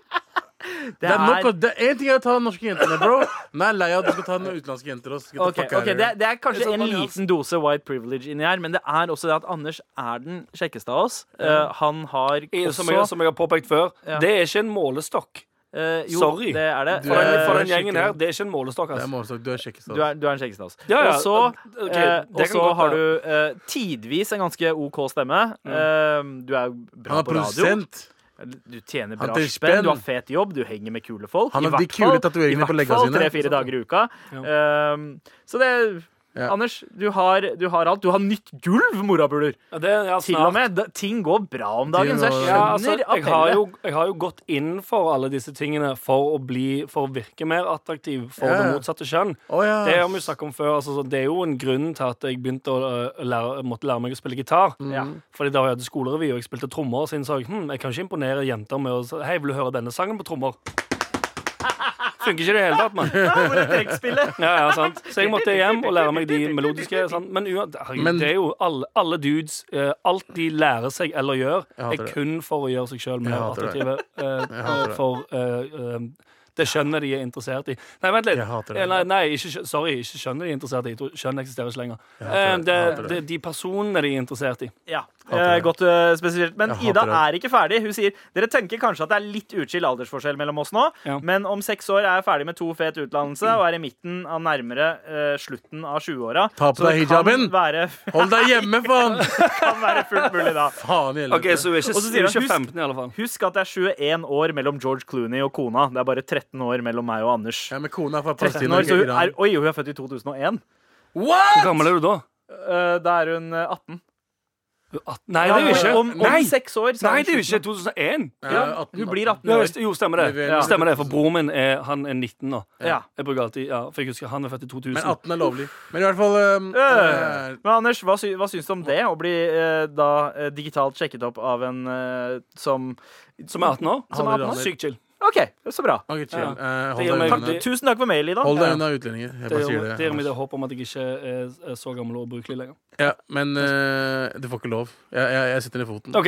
S6: Det er nok å- Det er én ting er å ta norske jentene, bro. Nei, lei av at du skal ta noen utenlandske jenter også. Get the
S3: Ok,
S6: fuck out
S3: ok,
S6: of here.
S3: det, er- det er kanskje
S5: Sånn,
S3: en
S5: Daniel.
S3: liten dose white privilege inni her, men det er også det at Anders er den kjekkeste av oss. Eh, han har
S5: Som jeg,
S3: også
S5: som jeg har påpekt før,
S3: Ja.
S5: det er ikke en målestokk.
S3: eh, Jo,
S5: Sorry.
S3: det er det. Eh,
S6: Du
S5: For den, for den
S6: skikkelig-
S5: gjengen her, det er ikke en målestokk.
S6: Det er
S5: Altså.
S6: målestokk. Du er kjekkest av
S3: Du er, du er den kjekkeste av oss.
S5: Ja, ja,
S3: Og så
S5: ok, det
S3: eh,
S5: kan
S3: og så
S5: godt
S3: har
S5: være. Mm.
S3: du eh, tidvis en ganske OK stemme. Eh, du er jo
S6: Han
S3: bra
S6: er
S3: på radio. Eh,
S6: produsent.
S3: Du tjener
S6: Han
S3: bra
S6: tjener
S3: spenn,
S6: spenn.
S3: du har fet jobb, du henger med kule folk.
S6: Han
S3: i
S6: har de
S3: hvert
S6: kule
S3: fall-
S6: tatoveringene på leggene
S3: I hvert
S6: sine.
S3: fall tre-fire dager i uka. Ehm, så det
S6: Ja.
S3: Anders, du har, du har alt. Du har nytt gulv, morapuler!
S5: Ja, Det, er- ja,
S3: Til og
S5: snart.
S3: med. Da, ting går bra om dagen,
S6: Ting
S3: så jeg
S6: går-
S3: skjønner
S5: Ja, altså, jeg, har
S3: appellet.
S5: jo, jeg har jo gått inn for alle disse tingene for å, bli, for å virke mer attraktiv for
S6: Ja.
S5: det motsatte kjønn.
S6: Å ja.
S5: Det har vi jo snakket om før. Altså, så det er jo en grunn til at jeg begynte å øh, lære, måtte lære meg å spille gitar.
S3: Ja.
S5: Fordi da jeg hadde skolerevy og jeg spilte trommer, så innså jeg hm, jeg kan ikke imponere jenter med å si Hei, vil du høre denne sangen på trommer? Funker ikke i det hele tatt, mann.
S3: Hvor er trekkspillet?
S5: Ja, ja, sant. Så jeg måtte hjem og lære meg de melodiske. Sant? Men ua- herregud,
S6: Men-
S5: det er jo alle, alle dudes. eh, alt de lærer seg eller gjør,
S6: hater
S5: er
S6: det.
S5: kun for å gjøre seg sjøl mer
S6: Jeg hater det.
S5: attraktive eh,
S6: hater det.
S5: for eh, eh, det skjønnet de er interessert i. Nei, vent litt.
S6: Jeg hater det.
S5: Eh, Nei, nei ikke, skjø- sorry, ikke skjønnet de er interessert i. Jeg tror Skjønn eksisterer ikke lenger. Eh,
S6: hater det.
S5: det,
S6: Jeg hater det.
S5: det, de personene de er interessert i.
S3: Ja,
S6: Hater
S3: eh,
S6: det.
S3: godt eh, spesifisert. Men
S6: Jeg hater
S3: Ida
S6: det.
S3: er ikke ferdig. Hun sier dere tenker kanskje at det er litt utskilt aldersforskjell mellom oss nå,
S5: Ja.
S3: men om seks år er jeg ferdig med to fet utdannelse og er i midten av nærmere eh, slutten av 20-åra.
S6: Ta
S3: Så
S6: på deg
S3: det kan
S6: hijaben.
S3: Være,
S6: Hold deg hjemme, faen!
S3: kan være fullt mulig da.
S6: Faen i helvete.
S5: så hun er ikke,
S3: Og så sier
S5: hun er
S3: han,
S5: ikke 15 i alle fall.
S3: Husk at det er 21 år mellom George Clooney og kona. Det er bare 13 år mellom meg og Anders.
S6: Ja, men kona er fra
S3: 13
S6: Palestina.
S3: år, så
S6: ikke
S3: hun er,
S6: Iran.
S3: oi, hun er født i 2001.
S5: Hvor gammel er du da?
S3: Eh, da er hun eh, 18.
S5: Du er 18. Nei, det er jo ikke.
S3: Om, om
S5: Nei,
S3: seks år så
S5: nei
S3: er
S5: det
S3: hun
S5: er jo
S3: 17.
S5: ikke 2001.
S3: Ja,
S6: Ja, 18,
S3: hun blir 18
S5: Ja,
S3: år.
S5: visst, jo, stemmer det.
S6: Det er
S5: Ja.
S6: vel-
S5: Stemmer det, For broren min er, han er 19 nå.
S3: Ja.
S5: Jeg bruker alltid, ja, for jeg husker Han er født i 2000.
S6: Men 18 er lovlig. Men i hvert fall um,
S3: Øh.
S6: eh,
S3: Men Anders, hva, sy hva syns du om det? Å bli eh, da eh, digitalt sjekket opp av en eh, som
S5: som er 18 år.
S3: Som
S6: Han er
S3: 18 år?
S6: iraner.
S5: Sykt chill.
S3: OK, så bra.
S6: Ok, chill.
S5: Ja.
S6: Eh,
S5: Det gir
S6: hold,
S5: meg-
S6: deg
S3: Takk,
S6: unna.
S5: det-
S3: tusen takk for mail, Ida.
S6: hold
S5: Ja.
S6: deg unna utlendinger. Jeg
S5: Det
S6: bare
S5: gir
S6: sier
S5: meg- det
S6: det.
S5: gir meg
S6: Anders.
S5: det håp om at jeg ikke er er så gammel og ubrukelig lenger.
S6: Ja, men eh, du får ikke lov. Jeg, jeg, jeg setter ned foten.
S5: Ok,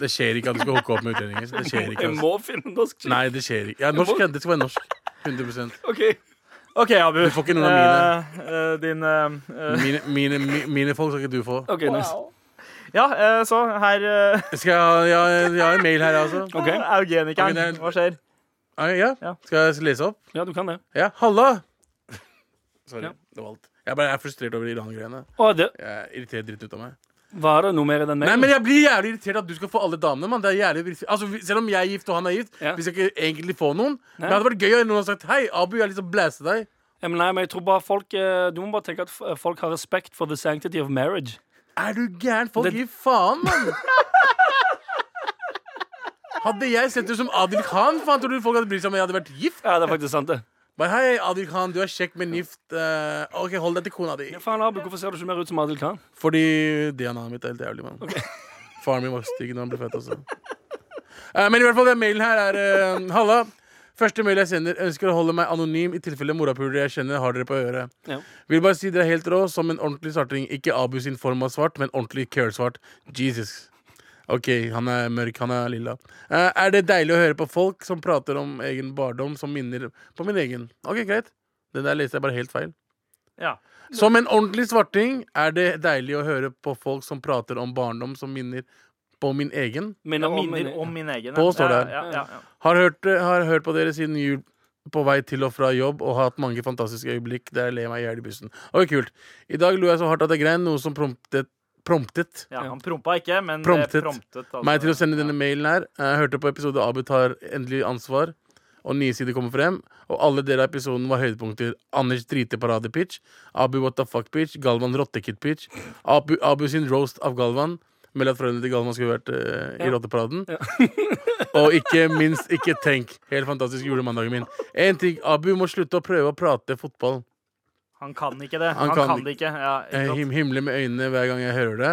S6: Det skjer ikke at du skal hooke opp med utlendinger. Det skjer ikke.
S5: Jeg
S6: Altså.
S5: må finne norsk skilt.
S6: Nei, det skjer ikke. Ja, norsk, ja. det skal være norsk. 100
S5: Ok.
S3: Eh, OK, Abu.
S6: Du får ikke noen av
S3: Eh, eh, din eh, eh,
S6: Mine, mine, mi- mine folk skal ikke du få.
S5: OK, nice.
S3: Ja, eh, så her eh,
S6: Skal jeg, ha- jeg, jeg har en mail her, altså.
S5: Ok.
S6: Ok, det
S3: Eugenikeren.
S6: er-
S3: Hva skjer?
S6: Ah, Ja.
S3: Ja.
S6: Skal jeg lese opp?
S5: Ja, du kan det.
S6: Ja, halla! Sorry,
S5: Ja.
S6: det var alt. Jeg bare er frustrert over Iran-greiene.
S5: Å, det
S6: Jeg irriterer dritt ut av meg.
S5: var det noe mer i den
S6: Nei,
S5: mailen?
S6: men jeg blir jævlig irritert at du skal få alle damene, mann. Det er jævlig irriterende. Altså, vi- selv om jeg er gift og han er gift,
S5: Ja.
S6: vi skal ikke egentlig få noen. Men
S5: Nei.
S6: det hadde vært gøy om noen hadde sagt Hei, Abu, jeg har lyst til å blæse deg.
S5: Ja, men nei, men jeg tror bare folk eh, Du må bare tenke at f- folk har respekt for the sanctity of marriage.
S6: Er du gæren? Folk
S5: Det-
S6: gir faen, mann! Hadde jeg sett ut som Adil Khan, faen, tror du folk hadde brydd seg om jeg hadde vært gift?
S5: Ja, det er faktisk sant, det.
S6: Bare hei, Adil Khan, du er kjekk, men gift. eh, OK, hold deg til kona di.
S5: Ja, Eh, faen, Abu, hvorfor ser du ikke mer ut som Adil Khan?
S6: Fordi DNA-et mitt er helt jævlig, mann. Faren min var stygg når han ble født også. Eh, men i hvert fall, den mailen her er eh, Halla. Første mail jeg sender, ønsker å holde meg anonym i tilfelle morapulere jeg kjenner, har dere på øret.
S5: Ja.
S6: Vil bare si dere er helt rå som en ordentlig starting. Ikke Abu sin form av svart, men ordentlig care-svart. Jesus. Ok, han er mørk, han er lilla. Eh, er det deilig å høre på folk som prater om egen barndom som minner på min egen? Ok, greit. Den der leste jeg bare helt feil.
S3: Ja.
S6: Som en ordentlig svarting er det deilig å høre på folk som prater om barndom som minner på min egen.
S5: Minner
S3: Jeg
S5: om
S3: minner om min egen.
S6: På står det her.
S3: Ja, ja, ja,
S6: Har hørt, eh, har hørt på dere siden jul på vei til og fra jobb og hatt mange fantastiske øyeblikk der jeg ler meg i hjel i bussen. Oi, kult. I dag lo jeg så hardt at jeg grein, noe som promptet, promptet
S3: ja. Han prompa ikke, men det
S6: Promptet
S3: promptet altså.
S6: meg til å sende denne mailen her. Jeg hørte på episode Abu tar endelig ansvar, og nye sider kommer frem. Og alle deler av episoden var høydepunkter. Anders driteparade-pitch, Abu what the fuck-pitch, Galvan rottekid-pitch, Abu, Abu sin roast av Galvan. Meld at foreldrene til Galvan skulle vært eh, i
S5: Ja.
S6: rotteparaden. og ikke minst, ikke tenk. Helt fantastisk julemandagen min. Én ting, Abu må slutte å prøve å prate fotball.
S3: Han kan ikke det.
S6: Han
S3: Han,
S6: kan
S3: kan det ikke. Ja, ikke
S6: Jeg
S3: sant?
S6: Eh, him himler med øynene hver gang jeg hører det.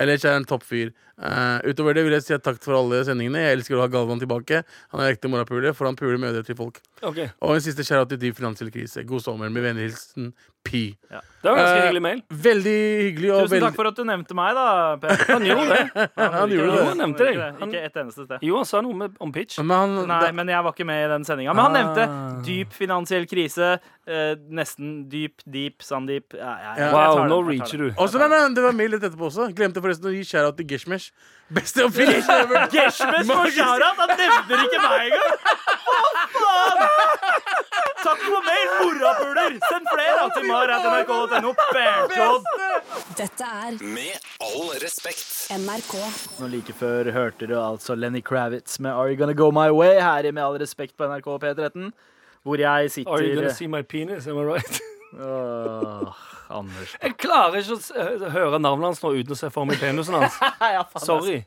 S6: Ellers er han topp fyr. Eh, utover det vil jeg si takk for alle sendingene. Jeg elsker å ha Galvan tilbake. Han er ekte morapuler, for han puler mødre til folk.
S5: Ok.
S6: Og en siste skjæra til dyp finansiell krise. God sommer. Med vennlig hilsen P.
S5: Det var en ganske
S6: Eh,
S5: hyggelig mail.
S6: Veldig hyggelig. Og
S3: Tusen takk
S6: veldig,
S3: for at du nevnte meg, da, Per.
S5: Han gjorde det.
S3: Han
S6: gjorde
S3: ikke
S6: det.
S3: Han
S5: nevnte deg.
S3: gjorde det.
S5: Han-
S3: Ikke et eneste sted.
S5: Jo, han sa noe med, om pitch.
S6: men han,
S3: Nei,
S6: det-
S3: men jeg var ikke med i den sendinga. Men han nevnte
S5: Ah.
S3: dyp finansiell krise. eh, nesten dyp, deep, sandeep. Ja, ja, ja, jeg tar
S5: Wow,
S3: den,
S5: nå
S3: jeg tar
S5: reacher
S3: den.
S5: du.
S6: også, nei, nei, det var mail litt etterpå også. Glemte forresten å gi shout-out til Geshmesh. Beste oppfinnelse ever!
S3: Geshmes for Sharat! Han nevner ikke meg engang! Hva faen? Takk for mail, morapuler! Send flere til mar.nrk.no. Bærtåd!
S2: Dette er
S1: Med all respekt.
S2: NRK.
S3: Nå like før hørte du altså Lenny Kravitz med Are You Gonna Go My Way her i Med all respekt på NRK P13, hvor jeg sitter
S5: Are you gonna see my penis? Am I right?
S3: Åh, Anders.
S5: Jeg klarer ikke å s- hø- høre navnet hans nå uten å se for meg penisen hans. Sorry.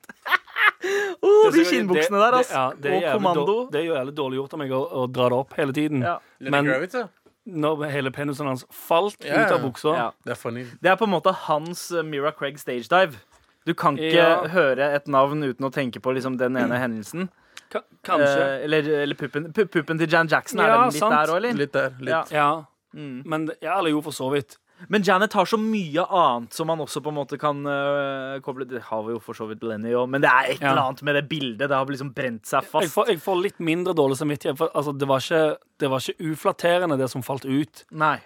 S3: Oh, de
S5: Det-
S3: skinnbuksene
S5: det-
S3: der, ass.
S5: det- ja, det er
S3: Og
S5: jævlig
S3: kommando.
S5: dår- Det er jo jævlig dårlig gjort av meg å, å dra det opp hele tiden.
S3: Ja.
S5: Men når hele penisen hans falt
S6: Ja,
S5: ut av
S6: ja.
S5: buksa
S3: Ja.
S6: Det er funny.
S3: Det er på en måte hans eh, Mira Craig stage dive. Du kan ikke
S5: Ja.
S3: høre et navn uten å tenke på liksom, den ene hendelsen.
S5: ka-
S3: Eh,
S5: Kanskje.
S3: eller eller puppen, pu- puppen til Jan Jackson, er
S5: Ja,
S3: den litt
S5: sant.
S3: der òg, eller?
S6: Litt der. Litt.
S3: Ja.
S5: Ja.
S6: Mm.
S5: Men det- ja, eller jo, for så vidt.
S3: Men Janet har så mye annet som man også på en måte kan øh, koble Det har vi jo for så vidt Lenny òg, men det er et
S5: Ja.
S3: eller annet med det bildet. Det har liksom brent seg
S5: Jeg
S3: fast.
S5: får, jeg får litt mindre dårlig samvittighet. For, altså, det, var ikke, det var ikke uflatterende, det som falt ut,
S3: Nei.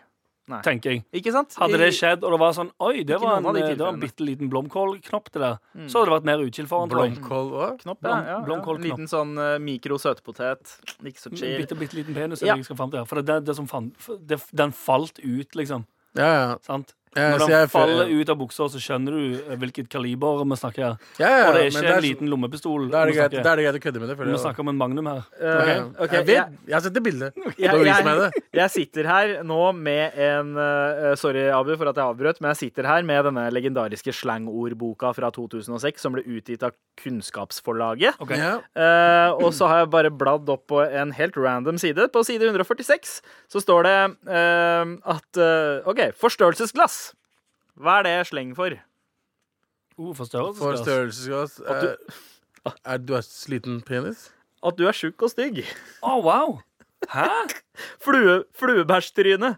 S5: tenker jeg.
S3: Ikke sant?
S5: Hadde det
S3: I-
S5: skjedd, og det var sånn Oi, det
S3: Ikke
S5: var en,
S3: noen av de
S5: det var en
S3: tilfellene.
S5: bitte liten blomkålknopp, det der.
S6: Mm.
S5: Så hadde det vært mer utskilt for han, tror jeg.
S6: Blomkål òg?
S3: Knopp, ja, ja, ja.
S5: blomkål
S3: En liten sånn øh, mikro søtpotet. Ikke så
S5: En
S3: chill.
S5: bitte, bitte liten penis. er
S3: Ja.
S5: det Jeg skal frem til her. For det, det, det som fan, det, den falt ut, liksom.
S6: Ja, ja.
S5: Sant?
S6: Ja,
S5: Når
S6: så
S5: den
S6: jeg-
S5: faller ut av buksa, så skjønner du eh, hvilket kaliber vi snakker her.
S6: ja, ja.
S5: Og det er
S6: men
S5: ikke
S6: det
S5: en
S6: så-
S5: liten lommepistol.
S6: Da er
S5: vi
S6: det greit,
S5: snakker.
S6: da er det greit å kødde med det. føler
S5: Vi
S6: jeg.
S5: snakker om en magnum her.
S3: Øh,
S6: Ja, ja.
S3: ok,
S6: jeg vet, jeg har sett det bildet.
S3: jeg,
S6: Da viser
S3: jeg,
S6: meg det.
S3: jeg, sitter her nå med en øh, Sorry, Abu, for at jeg avbrøt, men jeg sitter her med denne legendariske slangordboka fra 2006 som ble utgitt av Kunnskapsforlaget.
S5: Ok.
S6: Ja.
S3: Eh, og så har jeg bare bladd opp på en helt random side. På side 146 så står det eh, at eh, OK, forstørrelsesglass. Hva er det sleng for?
S5: Oh, forstørrelse.
S6: For
S5: skal jeg
S6: størrelsesglass er, er du er sliten penis?
S3: At du er tjukk og stygg.
S5: ha. Å, wow! Hæ?
S3: Flue, Fluebæsjtryne.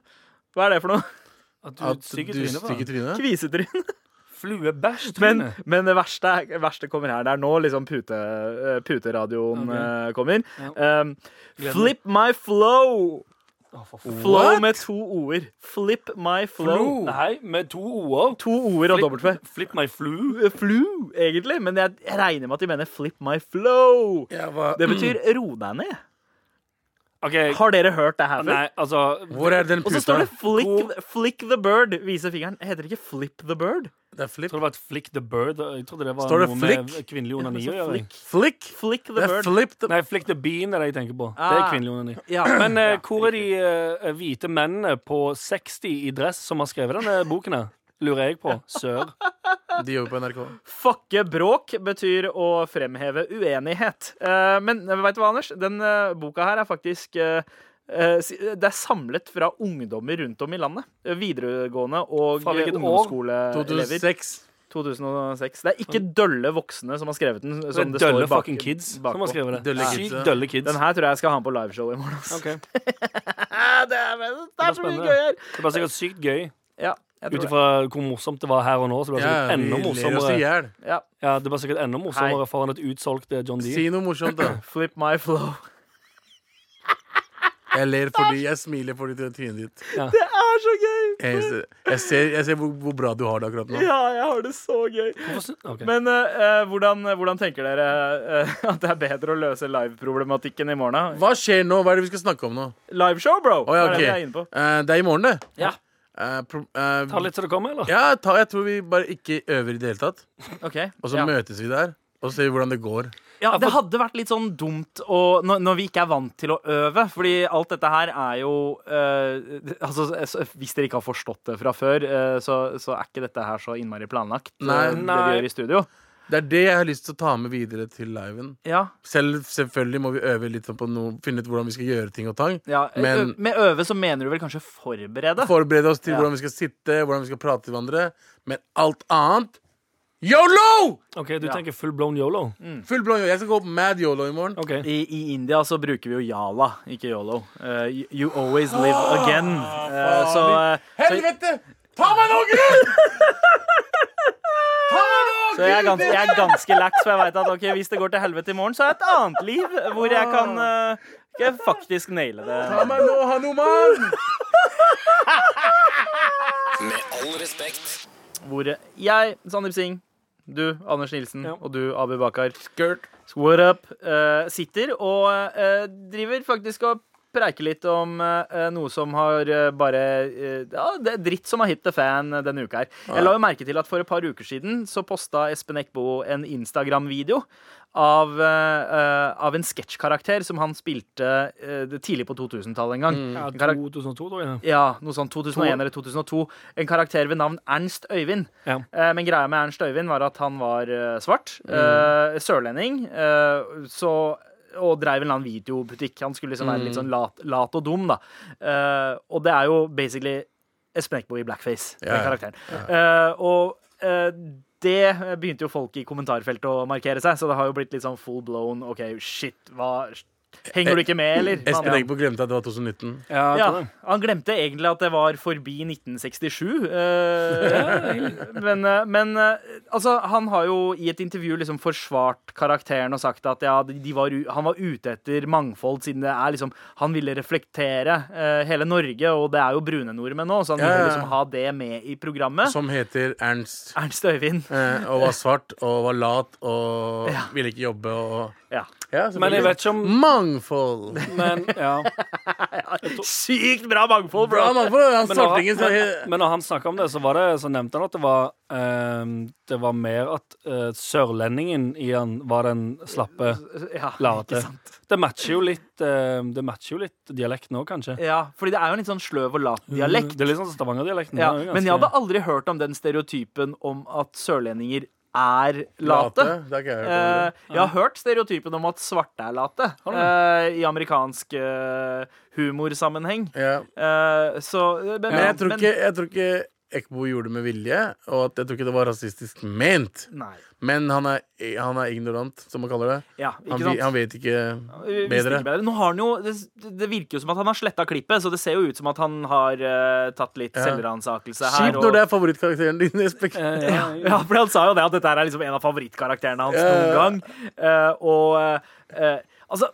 S3: Hva er det for noe?
S5: At du
S6: At
S5: stygger
S6: du
S5: trynet på
S6: stygger
S5: den.
S6: trynet?
S3: Kvisetryn. Men,
S5: Fluebæsjtryne.
S3: men det verste, er- verste kommer her. Det er nå liksom pute, eh, puteradioen
S5: Ok.
S3: eh, kommer.
S5: Ja.
S3: Eh,
S5: Gleder meg.
S3: flip my flow.
S5: Å, for faen.
S3: Flow
S6: What?
S3: med to ord. Flip my flow.
S5: Nei, med to o-er.
S3: To ord og dobbelt V.
S5: Flip my flu.
S3: flu, egentlig, men jeg regner med at de mener flip my flow.
S6: Jeg var-
S3: Det betyr ro deg ned.
S5: OK.
S3: Har dere hørt det her før?
S5: Nei, altså
S6: Hvor er den
S3: Og så står
S6: puta?
S3: det flick, 'flick the bird'. Viser fingeren. Heter det ikke 'flip the bird'?
S6: Det er
S5: Jeg
S6: flip.
S5: trodde det var et Flick the Bird. Jeg trodde det var
S6: Står det
S5: noe med
S6: flick?
S5: kvinnelig onani å
S3: Ja, men
S5: gjøre.
S3: så
S5: jeg.
S6: Flick!
S3: Flick the
S6: Det er
S3: bird.
S6: flip. the-
S5: Nei, Flick the Bean er det jeg tenker på. Det er
S3: Ah.
S5: kvinnelig onani.
S3: Ja.
S5: Men eh, hvor er de eh, hvite mennene på 60 i dress som har skrevet denne boken? her? Lurer jeg på. Sør.
S6: De jobber på
S3: Eh,
S6: NRK.
S3: Fucke bråk betyr å fremheve uenighet. Eh, men veit du hva, Anders? Den eh, boka her er faktisk eh, eh, si- Det er samlet fra ungdommer rundt om i landet. Eh, Videregående og eh,
S5: Fra hvilket år?
S3: ungdomsskoleelever.
S6: 2006.
S3: 2006. Det er ikke dølle voksne som har skrevet den.
S5: Det
S3: Som
S5: er
S3: sånn det
S5: dølle
S3: står bak,
S5: fucking kids som
S3: bakpå.
S5: har skrevet det.
S6: Dølle kids,
S5: Sykt
S6: ja.
S5: dølle kids.
S3: Den her tror jeg jeg skal ha med på liveshow i morgen. ass.
S5: Ok. Det
S3: Ah, det, er, det,
S5: blir
S3: er så mye
S5: spennende.
S3: gøy her!
S5: Det var sikkert sykt gøy.
S3: Ja, jeg tror
S5: Ut
S3: det.
S5: ifra hvor morsomt det var her og nå,
S3: Altså,
S5: så det ble
S6: Ja,
S5: sikkert
S6: vi
S5: enda
S6: ler oss i
S5: morsommere.
S6: hjel.
S3: Ja.
S5: Ja, det ble sikkert enda
S3: Hei.
S5: morsommere foran et utsolgt eh, John Dee.
S6: Si noe morsomt, da.
S3: Flip my flow.
S6: Jeg ler fordi jeg smiler fordi du har trynet ditt.
S3: Det er så gøy!
S6: Jeg ser, jeg ser, jeg ser hvor, hvor bra du har det akkurat nå.
S3: Ja, jeg har det så gøy.
S5: Hvorfor sy- ok.
S3: Men eh, eh, hvordan, hvordan tenker dere eh, at det er bedre å løse liveproblematikken i morgen? da?
S6: Hva skjer nå? Hva er det vi skal snakke om nå?
S3: Liveshow, bro!
S6: Å, ja,
S3: Det er
S6: ok.
S3: det jeg er inne på.
S6: Eh, det er i morgen, det.
S5: Ja.
S6: Eh, pro, eh,
S5: Ta litt til det kommer, eller?
S6: ja, ta, jeg tror vi bare ikke øver i det hele tatt.
S3: Ok,
S6: Og så
S3: ja.
S6: møtes vi der, og så ser vi hvordan det går.
S3: Ja, det hadde vært litt sånn dumt å, når, når vi ikke er vant til å øve. Fordi alt dette her er jo eh, det- Altså, s- hvis dere ikke har forstått det fra før, eh, så, så er ikke dette her så innmari planlagt,
S6: Nei.
S3: eh, det vi
S5: Nei.
S3: gjør i studio.
S6: Det er det jeg har lyst til å ta med videre til liven.
S3: Ja,
S6: Selv, selvfølgelig må vi øve litt sånn på noe, finne ut hvordan vi skal gjøre ting og tang.
S3: ja. Eh,
S6: Men-
S3: ø- Med øve så mener du vel kanskje forberede?
S6: Forberede oss til
S3: Ja.
S6: hvordan vi skal sitte, hvordan vi skal prate til hverandre. Men alt annet Yolo!
S5: OK, du tenker full blown yolo?
S6: Full blå, jeg skal gå på mad yolo i morgen.
S5: OK.
S3: I, I India så bruker vi jo jala, ikke yolo. Eh, you- you always live
S6: Ah,
S3: again. Eh, så, eh, så,
S6: Helvete! Ta meg nå, gutt! Ta meg nå,
S3: så jeg er
S6: gutt!
S3: ganske, jeg er ganske lax, for jeg veit at ok, hvis det går til helvete i morgen, så er det et annet liv hvor jeg kan eh, jeg faktisk naile
S6: Ta
S3: det.
S6: meg nå, Hanuman!
S1: Med all respekt.
S3: Hvor jeg, Sandeep Singh, du, Anders Nilsen,
S5: Ja.
S3: og du, Abu Bakar,
S6: Skirt.
S3: What up? eh, sitter og eh, driver faktisk og preiker litt om eh, noe som har eh, bare eh, Ja, det er dritt som har hit the fan denne uka her. Jeg la jo merke til at for et par uker siden så posta Espen Eckbo en Instagram-video av, eh, eh, av en sketsjkarakter som han spilte eh, det tidlig på 2000-tallet en gang.
S5: Mm. Ja,
S3: En karak-
S5: 2002, tror jeg.
S3: ja, noe sånn 2001 eller 2002. En karakter ved navn Ernst Øyvind.
S5: Ja.
S3: Eh, Men greia med Ernst Øyvind var at han var eh, svart,
S6: Mm.
S3: eh, sørlending, eh, så, og dreiv en eller annen videobutikk. Han skulle liksom være
S6: Mm.
S3: litt sånn lat, lat og dum, da. Eh, Og det er jo basically Espen Eckbo i blackface,
S6: Ja,
S3: den
S6: ja.
S3: karakteren. Eh, Og eh, det begynte jo folk i kommentarfeltet å markere seg, så det har jo blitt litt sånn full blown OK, shit, hva Henger du ikke med, eller?
S6: Espen
S3: Ja.
S6: Eggbo glemte at det var 2019.
S5: Ja, jeg tror
S3: Ja,
S5: det.
S3: han glemte egentlig at det var forbi 1967. eh, men eh, men eh, altså, han har jo i et intervju liksom forsvart karakteren og sagt at ja, de var, u- han var ute etter mangfold, siden det er liksom Han ville reflektere eh, hele Norge, og det er jo brune nordmenn nå, så han
S6: Ja, ja,
S3: ville
S6: ja.
S3: liksom ha det med i programmet.
S6: Som heter Ernst.
S3: Ernst Øyvind.
S6: eh, Og var svart og var lat og ville ikke jobbe og
S3: Ja.
S6: ja,
S5: Men jeg
S6: selvfølgelig.
S5: vet ikke om
S6: Mangfold!
S5: Men ja.
S3: Sykt bra mangfold,
S6: Bra
S3: bro!
S6: mangfold! Han
S5: Men når,
S6: svartingen
S5: han,
S6: sier-
S5: men, men når han snakka om det, så, var det, så nevnte han at det var ehm, Det var mer at eh, sørlendingen i han var den slappe,
S3: Ja,
S5: late. Det matcher jo litt, eh, det matcher jo litt dialekten òg, kanskje.
S3: ja, fordi det er jo en litt sånn sløv og lat dialekt.
S5: Det er litt sånn Stavanger-dialekten.
S3: Ja,
S5: den er jo
S3: men jeg
S5: ganske-
S3: hadde aldri hørt om den stereotypen om at sørlendinger er late.
S6: Late. Det har ikke jeg hørt om.
S3: Eh, jeg har hørt stereotypen om at svarte er late
S5: Har du?
S3: eh, i amerikansk eh, humorsammenheng.
S6: ja.
S3: Eh, så men,
S6: Men jeg tror ikke, jeg tror ikke Ekbo gjorde det med vilje, og at jeg tror ikke det var rasistisk ment.
S3: Nei.
S6: Men han er, han er ignorant, som man kaller det.
S3: Ja, ikke
S6: Han,
S3: sant?
S6: vi- han vet ikke
S3: Visste
S6: bedre.
S3: ikke Nå har han jo, det, det virker jo som at han har sletta klippet, så det ser jo ut som at han har eh, tatt litt
S6: Ja.
S3: selvransakelse her.
S6: Kjipt når det er favorittkarakteren din. Espek.
S5: Eh,
S3: Ja, ja, for han sa jo det at dette her er liksom en av favorittkarakterene hans
S6: Ja, ja, ja.
S3: noen gang. Eh, og eh, altså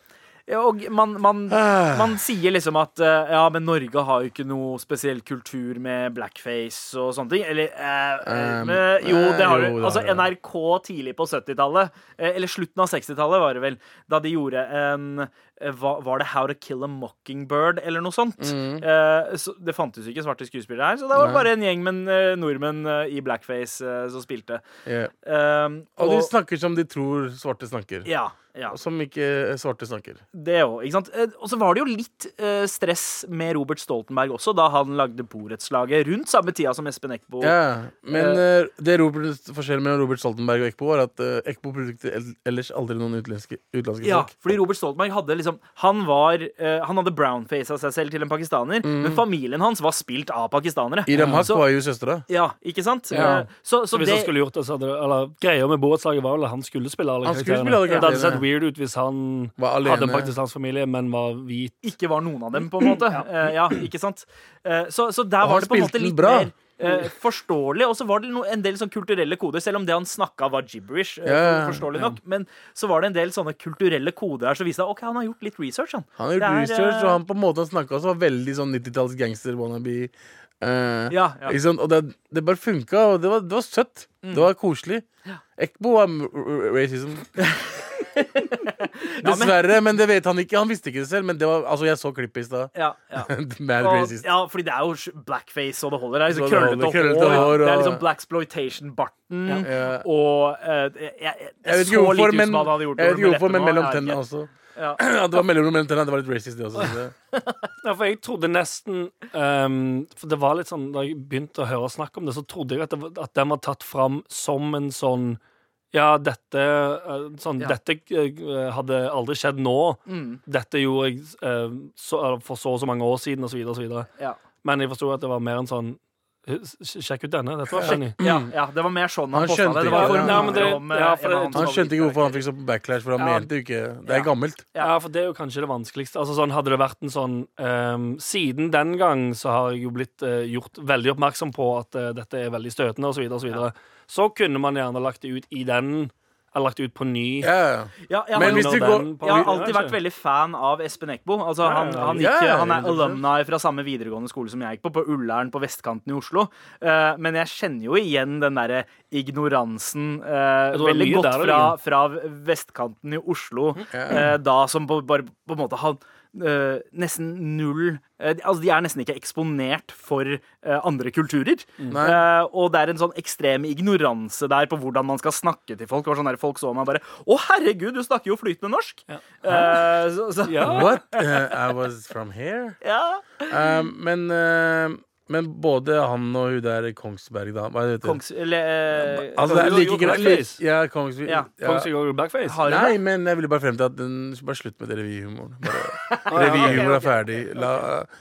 S3: ja, og man, man,
S6: Ah.
S3: man sier liksom at eh, ja, men Norge har jo ikke noe spesiell kultur med blackface og sånne ting. Eller eh, eh,
S6: Um,
S3: men Jo,
S6: eh,
S3: det har
S6: jo,
S3: du.
S6: det
S3: Altså
S6: har du.
S3: NRK tidlig på 70-tallet, eh, eller slutten av 60-tallet var det vel, da de gjorde en eh, hva, Var det How to Kill a Mockingbird, eller noe sånt? Eh, så det fantes jo ikke svarte skuespillere her, så det var
S6: Mm. Nei.
S3: bare en gjeng med eh, nordmenn eh, i blackface eh, som spilte.
S6: Ja.
S3: Um,
S6: Og de snakker som de tror svarte snakker.
S3: ja, ja,
S6: Og Som ikke eh, svarte snakker.
S3: det òg, ikke sant. Eh, Og så var det jo litt eh, stress med Robert Stoltenberg også, da han lagde borettslaget rundt samme tida som Espen Eckbo.
S6: Ja, Men eh, det Robert, forskjellen mellom Robert Stoltenberg og Ekbo er at eh, Ekbo brukte el- ellers aldri noen utenlandske, utenlandske
S3: Ja,
S6: folk.
S3: fordi Robert Stoltenberg hadde liksom Han var eh, Han hadde brownface av seg selv til en pakistaner, men familien hans var spilt av pakistanere.
S6: Iram Haq
S3: så,
S6: Mm. var jo søstera.
S3: ja, ikke sant?
S5: Ja.
S3: Eh, Så, så,
S5: Så hvis
S3: det
S5: han skulle gjort det, så hadde det Eller greia med borettslaget var vel at han skulle spille alle
S6: Han skulle spille
S5: karakterene.
S6: alle
S5: Det hadde
S6: karakterene.
S5: sett weird ut hvis han
S6: Var
S5: hadde
S6: alene.
S5: en pakistansk familie, men var hvit.
S3: ikke var noen av dem, på en måte. Eh, ja, ikke sant? Eh, så, så der
S6: Og
S3: var
S6: han
S3: det på en måte
S6: spilte den
S3: litt
S6: bra.
S3: mer eh, forståelig. Og så var det no, en del sånn kulturelle koder, selv om det han snakka, var gibberish. eh,
S6: Ja, ja,
S3: forståelig nok Men så var det en del sånne kulturelle koder her som viste at ok, han har gjort litt research. Han,
S6: Han har
S3: Det
S6: gjort
S3: er,
S6: research,
S3: eh,
S6: og han på en måte han snakka også var veldig sånn 90-talls gangster wannabe. eh,
S3: Ja, ja. Mm.
S6: Ikke sant? Og det, det bare funka, og det var, det var søtt. Det var koselig. Ekbo var m- r- racism. Dessverre, men det vet han ikke. Han visste ikke det selv, men det var, altså, jeg så klippet i stad.
S3: Ja, ja.
S6: Mad
S3: Og,
S6: racist.
S3: ja, fordi det er jo sj- blackface og det holder. Det er liksom
S6: Så det holder,
S3: krøllete
S6: krøllete
S3: hår.
S6: hår,
S3: Det er
S6: og-
S3: liksom blaxploitation-barten.
S6: Ja.
S3: Og eh, jeg, jeg, det
S6: Jeg vet
S3: så
S6: ikke hvorfor,
S3: lite ut
S6: men,
S3: som han hadde gjort
S6: jeg vet
S3: det
S6: ikke hvorfor,
S3: med
S6: men
S3: leppene
S6: mellom
S3: og-
S6: tennene altså.
S3: ja,
S6: også.
S3: Ja.
S6: At det var mellom mellom tennene, det var litt racist, det også. synes jeg.
S5: Ja, for jeg trodde nesten ehm, For det var litt sånn Da jeg begynte å høre snakk om det, så trodde jeg at, det, var- at den var tatt fram som en sånn ja, dette, eh, sånn,
S3: Ja.
S5: dette eh, hadde aldri skjedd nå.
S3: Mm.
S5: Dette gjorde jeg eh, så, eller for så og så mange år siden, osv. videre og så videre.
S3: Ja.
S5: Men jeg forsto at det var mer en sånn Sjekk ut denne. Dette var funny.
S3: Ja, ja, det var mer sånn
S6: Han
S3: han posta
S6: skjønte
S3: det. Det var
S6: ikke-
S3: for
S6: Ja,
S5: men det-
S3: om, eh,
S5: ja, for
S3: en
S5: det-
S3: annen
S6: Han
S3: som
S6: skjønte ikke
S3: hadde-
S6: hvorfor han fikk så backlash, for han
S5: Ja.
S6: mente jo ikke Det er gammelt.
S5: Ja. for det er jo kanskje det vanskeligste. Altså sånn Hadde det vært en sånn ehm, Siden den gang så har jeg jo blitt eh, gjort veldig oppmerksom på at eh, dette er veldig støtende, osv., osv. Så, videre. så kunne man gjerne lagt det ut i den, eller lagt det ut på ny.
S6: Ja, ja.
S3: Ja, jeg,
S6: Men
S3: har,
S6: hvis
S3: jo-
S6: du går-
S3: jeg har alltid vært veldig fan av Espen Eckbo. Altså, han,
S5: ja,
S3: han,
S6: ja.
S3: gikk,
S6: Ja,
S3: han er
S6: 100%.
S3: alumni fra samme videregående skole som jeg gikk på, på Ullern på vestkanten i Oslo. Eh, men jeg kjenner jo igjen den derre ignoransen eh,
S5: Jeg tror det er
S3: veldig
S5: mye
S3: godt
S5: der,
S3: fra, fra vestkanten i Oslo,
S6: Mm.
S3: eh, da som på, bare, på en måte han eh, nesten null eh, de- Altså, de er nesten ikke eksponert for eh, andre kulturer.
S6: Mm.
S3: Eh, og det er en sånn ekstrem ignoranse der på hvordan man skal snakke til folk. Det var sånn der folk så meg bare Å, herregud, du snakker jo flytende norsk! Eh, så, så, ja.
S6: What? Eh, I was from here? Eh, men, eh, men både han og hun der i Kongsberg, da Hva heter det?
S3: Kongs... Eller eh,
S6: Altså, det er
S5: Jo,
S6: like
S5: jo,
S6: greit
S5: Blackface.
S6: Ja, Kongsberg.
S3: Ja,
S5: Kongsvinger og blackface.
S3: har du
S6: Nei,
S3: det?
S6: men jeg ville bare frem til at den, Bare slutt med det revyhumoren. Bare- Revyhumor er ferdig. La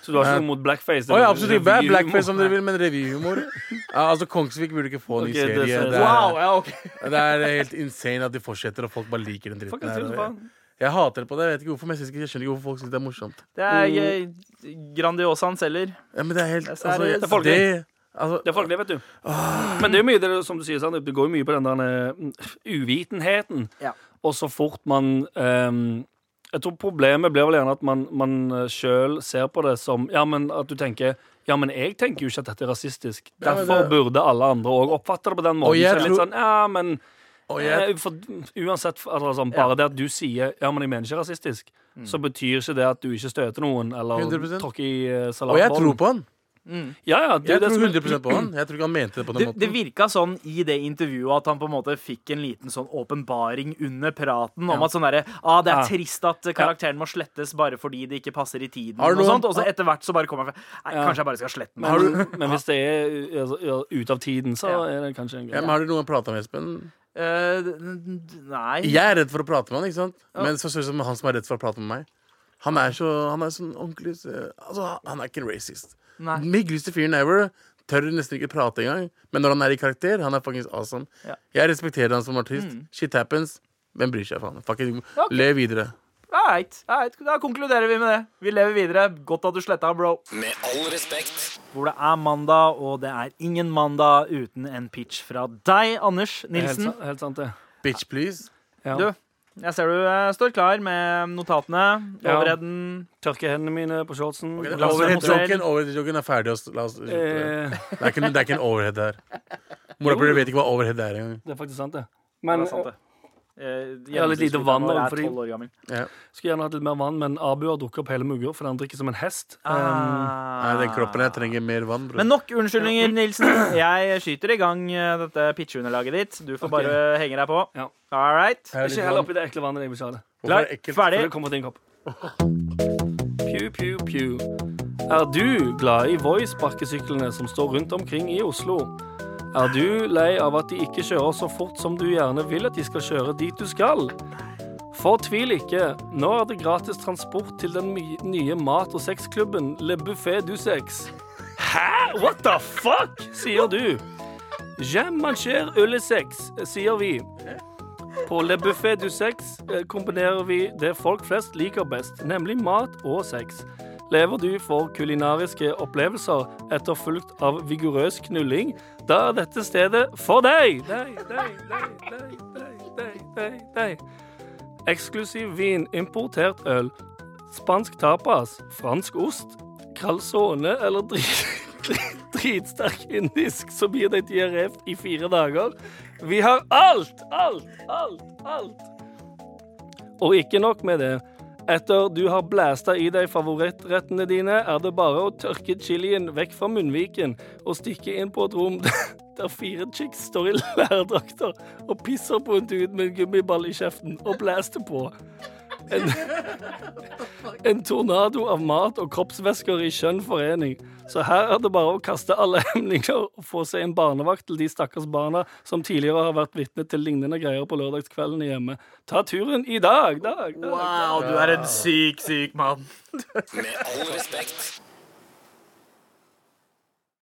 S5: Så du har ikke noe mot blackface?
S6: Å ja, absolutt. ikke. Vær
S5: Revyhumor.
S6: blackface om dere vil, men revyhumor Ja, Altså, Kongsvik burde ikke få en ny
S5: Ok, det
S6: serie.
S5: ser-
S6: Det
S3: Wow,
S6: er,
S3: ja, ok.
S6: det er helt insane at de fortsetter, og folk bare liker den
S5: Fuck,
S6: dritten
S5: jeg
S6: her.
S5: tror det
S6: og
S5: var-
S6: Jeg, jeg hater det på det. Jeg vet ikke hvorfor, men jeg, synes ikke, jeg skjønner ikke hvorfor folk syns det er morsomt.
S3: Det er eh, Grandiosaen selger.
S6: Ja, men det er helt
S3: Det er
S6: altså,
S3: seriøst.
S6: jeg-
S5: Det er folkelig.
S6: det, altså,
S5: Det er folkelig, vet du. Men det er jo mye, det, er jo som du sier, Sandeep, det går jo mye på den der eh, uvitenheten.
S3: Ja.
S5: Og så fort man ehm, Jeg tror problemet blir vel gjerne at man, man eh, sjøl ser på det som Ja, men at du tenker Ja, men jeg tenker jo ikke at dette er rasistisk.
S6: Ja, men
S5: Derfor
S6: det-
S5: burde alle andre òg oppfatte det på den måten.
S6: jeg
S5: Så er det litt
S6: tror-
S5: sånn, ja, men
S6: og jeg,
S5: eh, for, Uansett, altså, sånn, bare det at du sier Ja, men jeg mener ikke rasistisk,
S6: Mm.
S5: så betyr ikke det at du ikke støter noen eller
S6: 100%.
S5: tråkker i eh,
S6: og jeg tror
S5: salatbollen.
S6: på han.
S5: Ja, ja, det er det
S6: Jeg tror
S5: som er-
S6: 100 på han. Jeg tror ikke han mente det på den
S3: Det, det
S6: måten.
S3: virka sånn i det intervjuet at han på en måte fikk en liten sånn åpenbaring under praten om at sånn derre ah, det
S5: Ja.
S3: er trist at karakteren må slettes bare fordi det ikke passer i tiden,
S6: Har
S3: og
S6: du noen-
S3: sånt. Og så etter hvert så bare kommer han fra Nei,
S5: Ja.
S3: kanskje jeg bare skal slette den.
S5: Men, men hvis det er altså, ja, ute av tiden, så
S3: Ja.
S5: er det kanskje en
S6: Ja,
S5: greie.
S6: men har du noen prata med Espen?
S3: Eh, n- n- nei.
S6: Jeg er redd for å prate med han, ikke sant? Men så ser det ut som han som er redd for å prate med meg. Han er så, han er sånn ordentlig så- Altså, han er ikke en racist.
S3: Nei.
S6: Den Mygligste fyren ever. Tør nesten ikke prate engang. Men når han er i karakter, han er faktisk awesome.
S3: Ja. Mm.
S6: Jeg respekterer han som artist. Shit happens. Hvem bryr seg, faen? Fucking le videre.
S3: Alright, alright. Da konkluderer vi med det. Vi lever videre. Godt at du sletta, bro.
S1: Med all respekt.
S3: Hvor det er mandag, og det er ingen mandag uten en pitch fra deg, Anders
S5: Det er Helt,
S3: Nilsen.
S5: sa- helt sant, det.
S6: Bitch, please.
S5: Ja.
S3: Du, jeg ser du eh, står klar med notatene.
S5: Ja.
S3: Overheden.
S5: Tørke hendene mine på shortsen. Eh,
S6: Okay,
S5: La oss-
S3: overhead
S6: Overhead-joken overhead er ferdig. ass. La oss, det,
S5: eh,
S6: er ikke, det er ikke en overhead her. Morapuler vet ikke hva overhead er engang.
S5: det er faktisk sant, det. Men
S3: det er sant, det. Eh,
S5: Jeg har litt lite vann,
S3: gjennomsnittsalderen
S5: da,
S3: vår er
S5: fordi-
S3: 12 år gammel.
S6: Ja.
S5: skulle gjerne hatt litt mer vann, men Abu har drukket opp hele mugger fordi han drikker som en hest. Um,
S6: Nei, den
S3: Ah.
S6: kroppen her trenger mer vann, bror.
S3: Men nok unnskyldninger, Nilsen. Jeg skyter i gang eh, dette pitcheunderlaget ditt. Du får bare henge deg på.
S5: Ja.
S3: All right.
S6: Her er litt
S5: ikke hell
S6: vann.
S5: oppi det ekle vannet jeg vil ikke ha det.
S6: Hvorfor er
S3: Klar,
S6: det ekkelt?
S5: For
S3: ferdig.
S5: det kommer til en kopp. Pew, pew, pew. Er du glad i Voi-sparkesyklene som står rundt omkring i Oslo? Er du lei av at de ikke kjører så fort som du gjerne vil at de skal kjøre dit du skal? Fortvil ikke. Nå er det gratis transport til den my- nye mat- og sexklubben Le Buffet du Sex. Hæ? What the fuck? sier du. J'aime manger le sex, sier vi. På Le Buffet du Sex eh, kombinerer vi det folk flest liker best, nemlig mat og sex. Lever du for kulinariske opplevelser etterfulgt av vigorøs knulling, da er dette stedet for deg! Deg, deg, deg, deg, deg, deg, deg, deg. Eksklusiv vin, importert øl, spansk tapas, fransk ost, calzone eller drit, dritsterk indisk som gir deg diaré i fire dager. Vi har alt, alt, alt, alt. Og ikke nok med det. Etter du har blæsta i deg favorittrettene dine, er det bare å tørke chilien vekk fra munnviken og stikke inn på et rom der fire chicks står i lærdrakter og pisser på en dude med en gummiball i kjeften og blæster på. En, en tornado av mat og kroppsvæsker i skjønn forening. Så her er det bare å kaste alle hemninger og få seg en barnevakt til de stakkars barna som tidligere har vært vitne til lignende greier på lørdagskveldene hjemme. Ta turen i dag! dag, dag.
S3: Wow, du er en syk, syk mann.
S1: Med all respekt.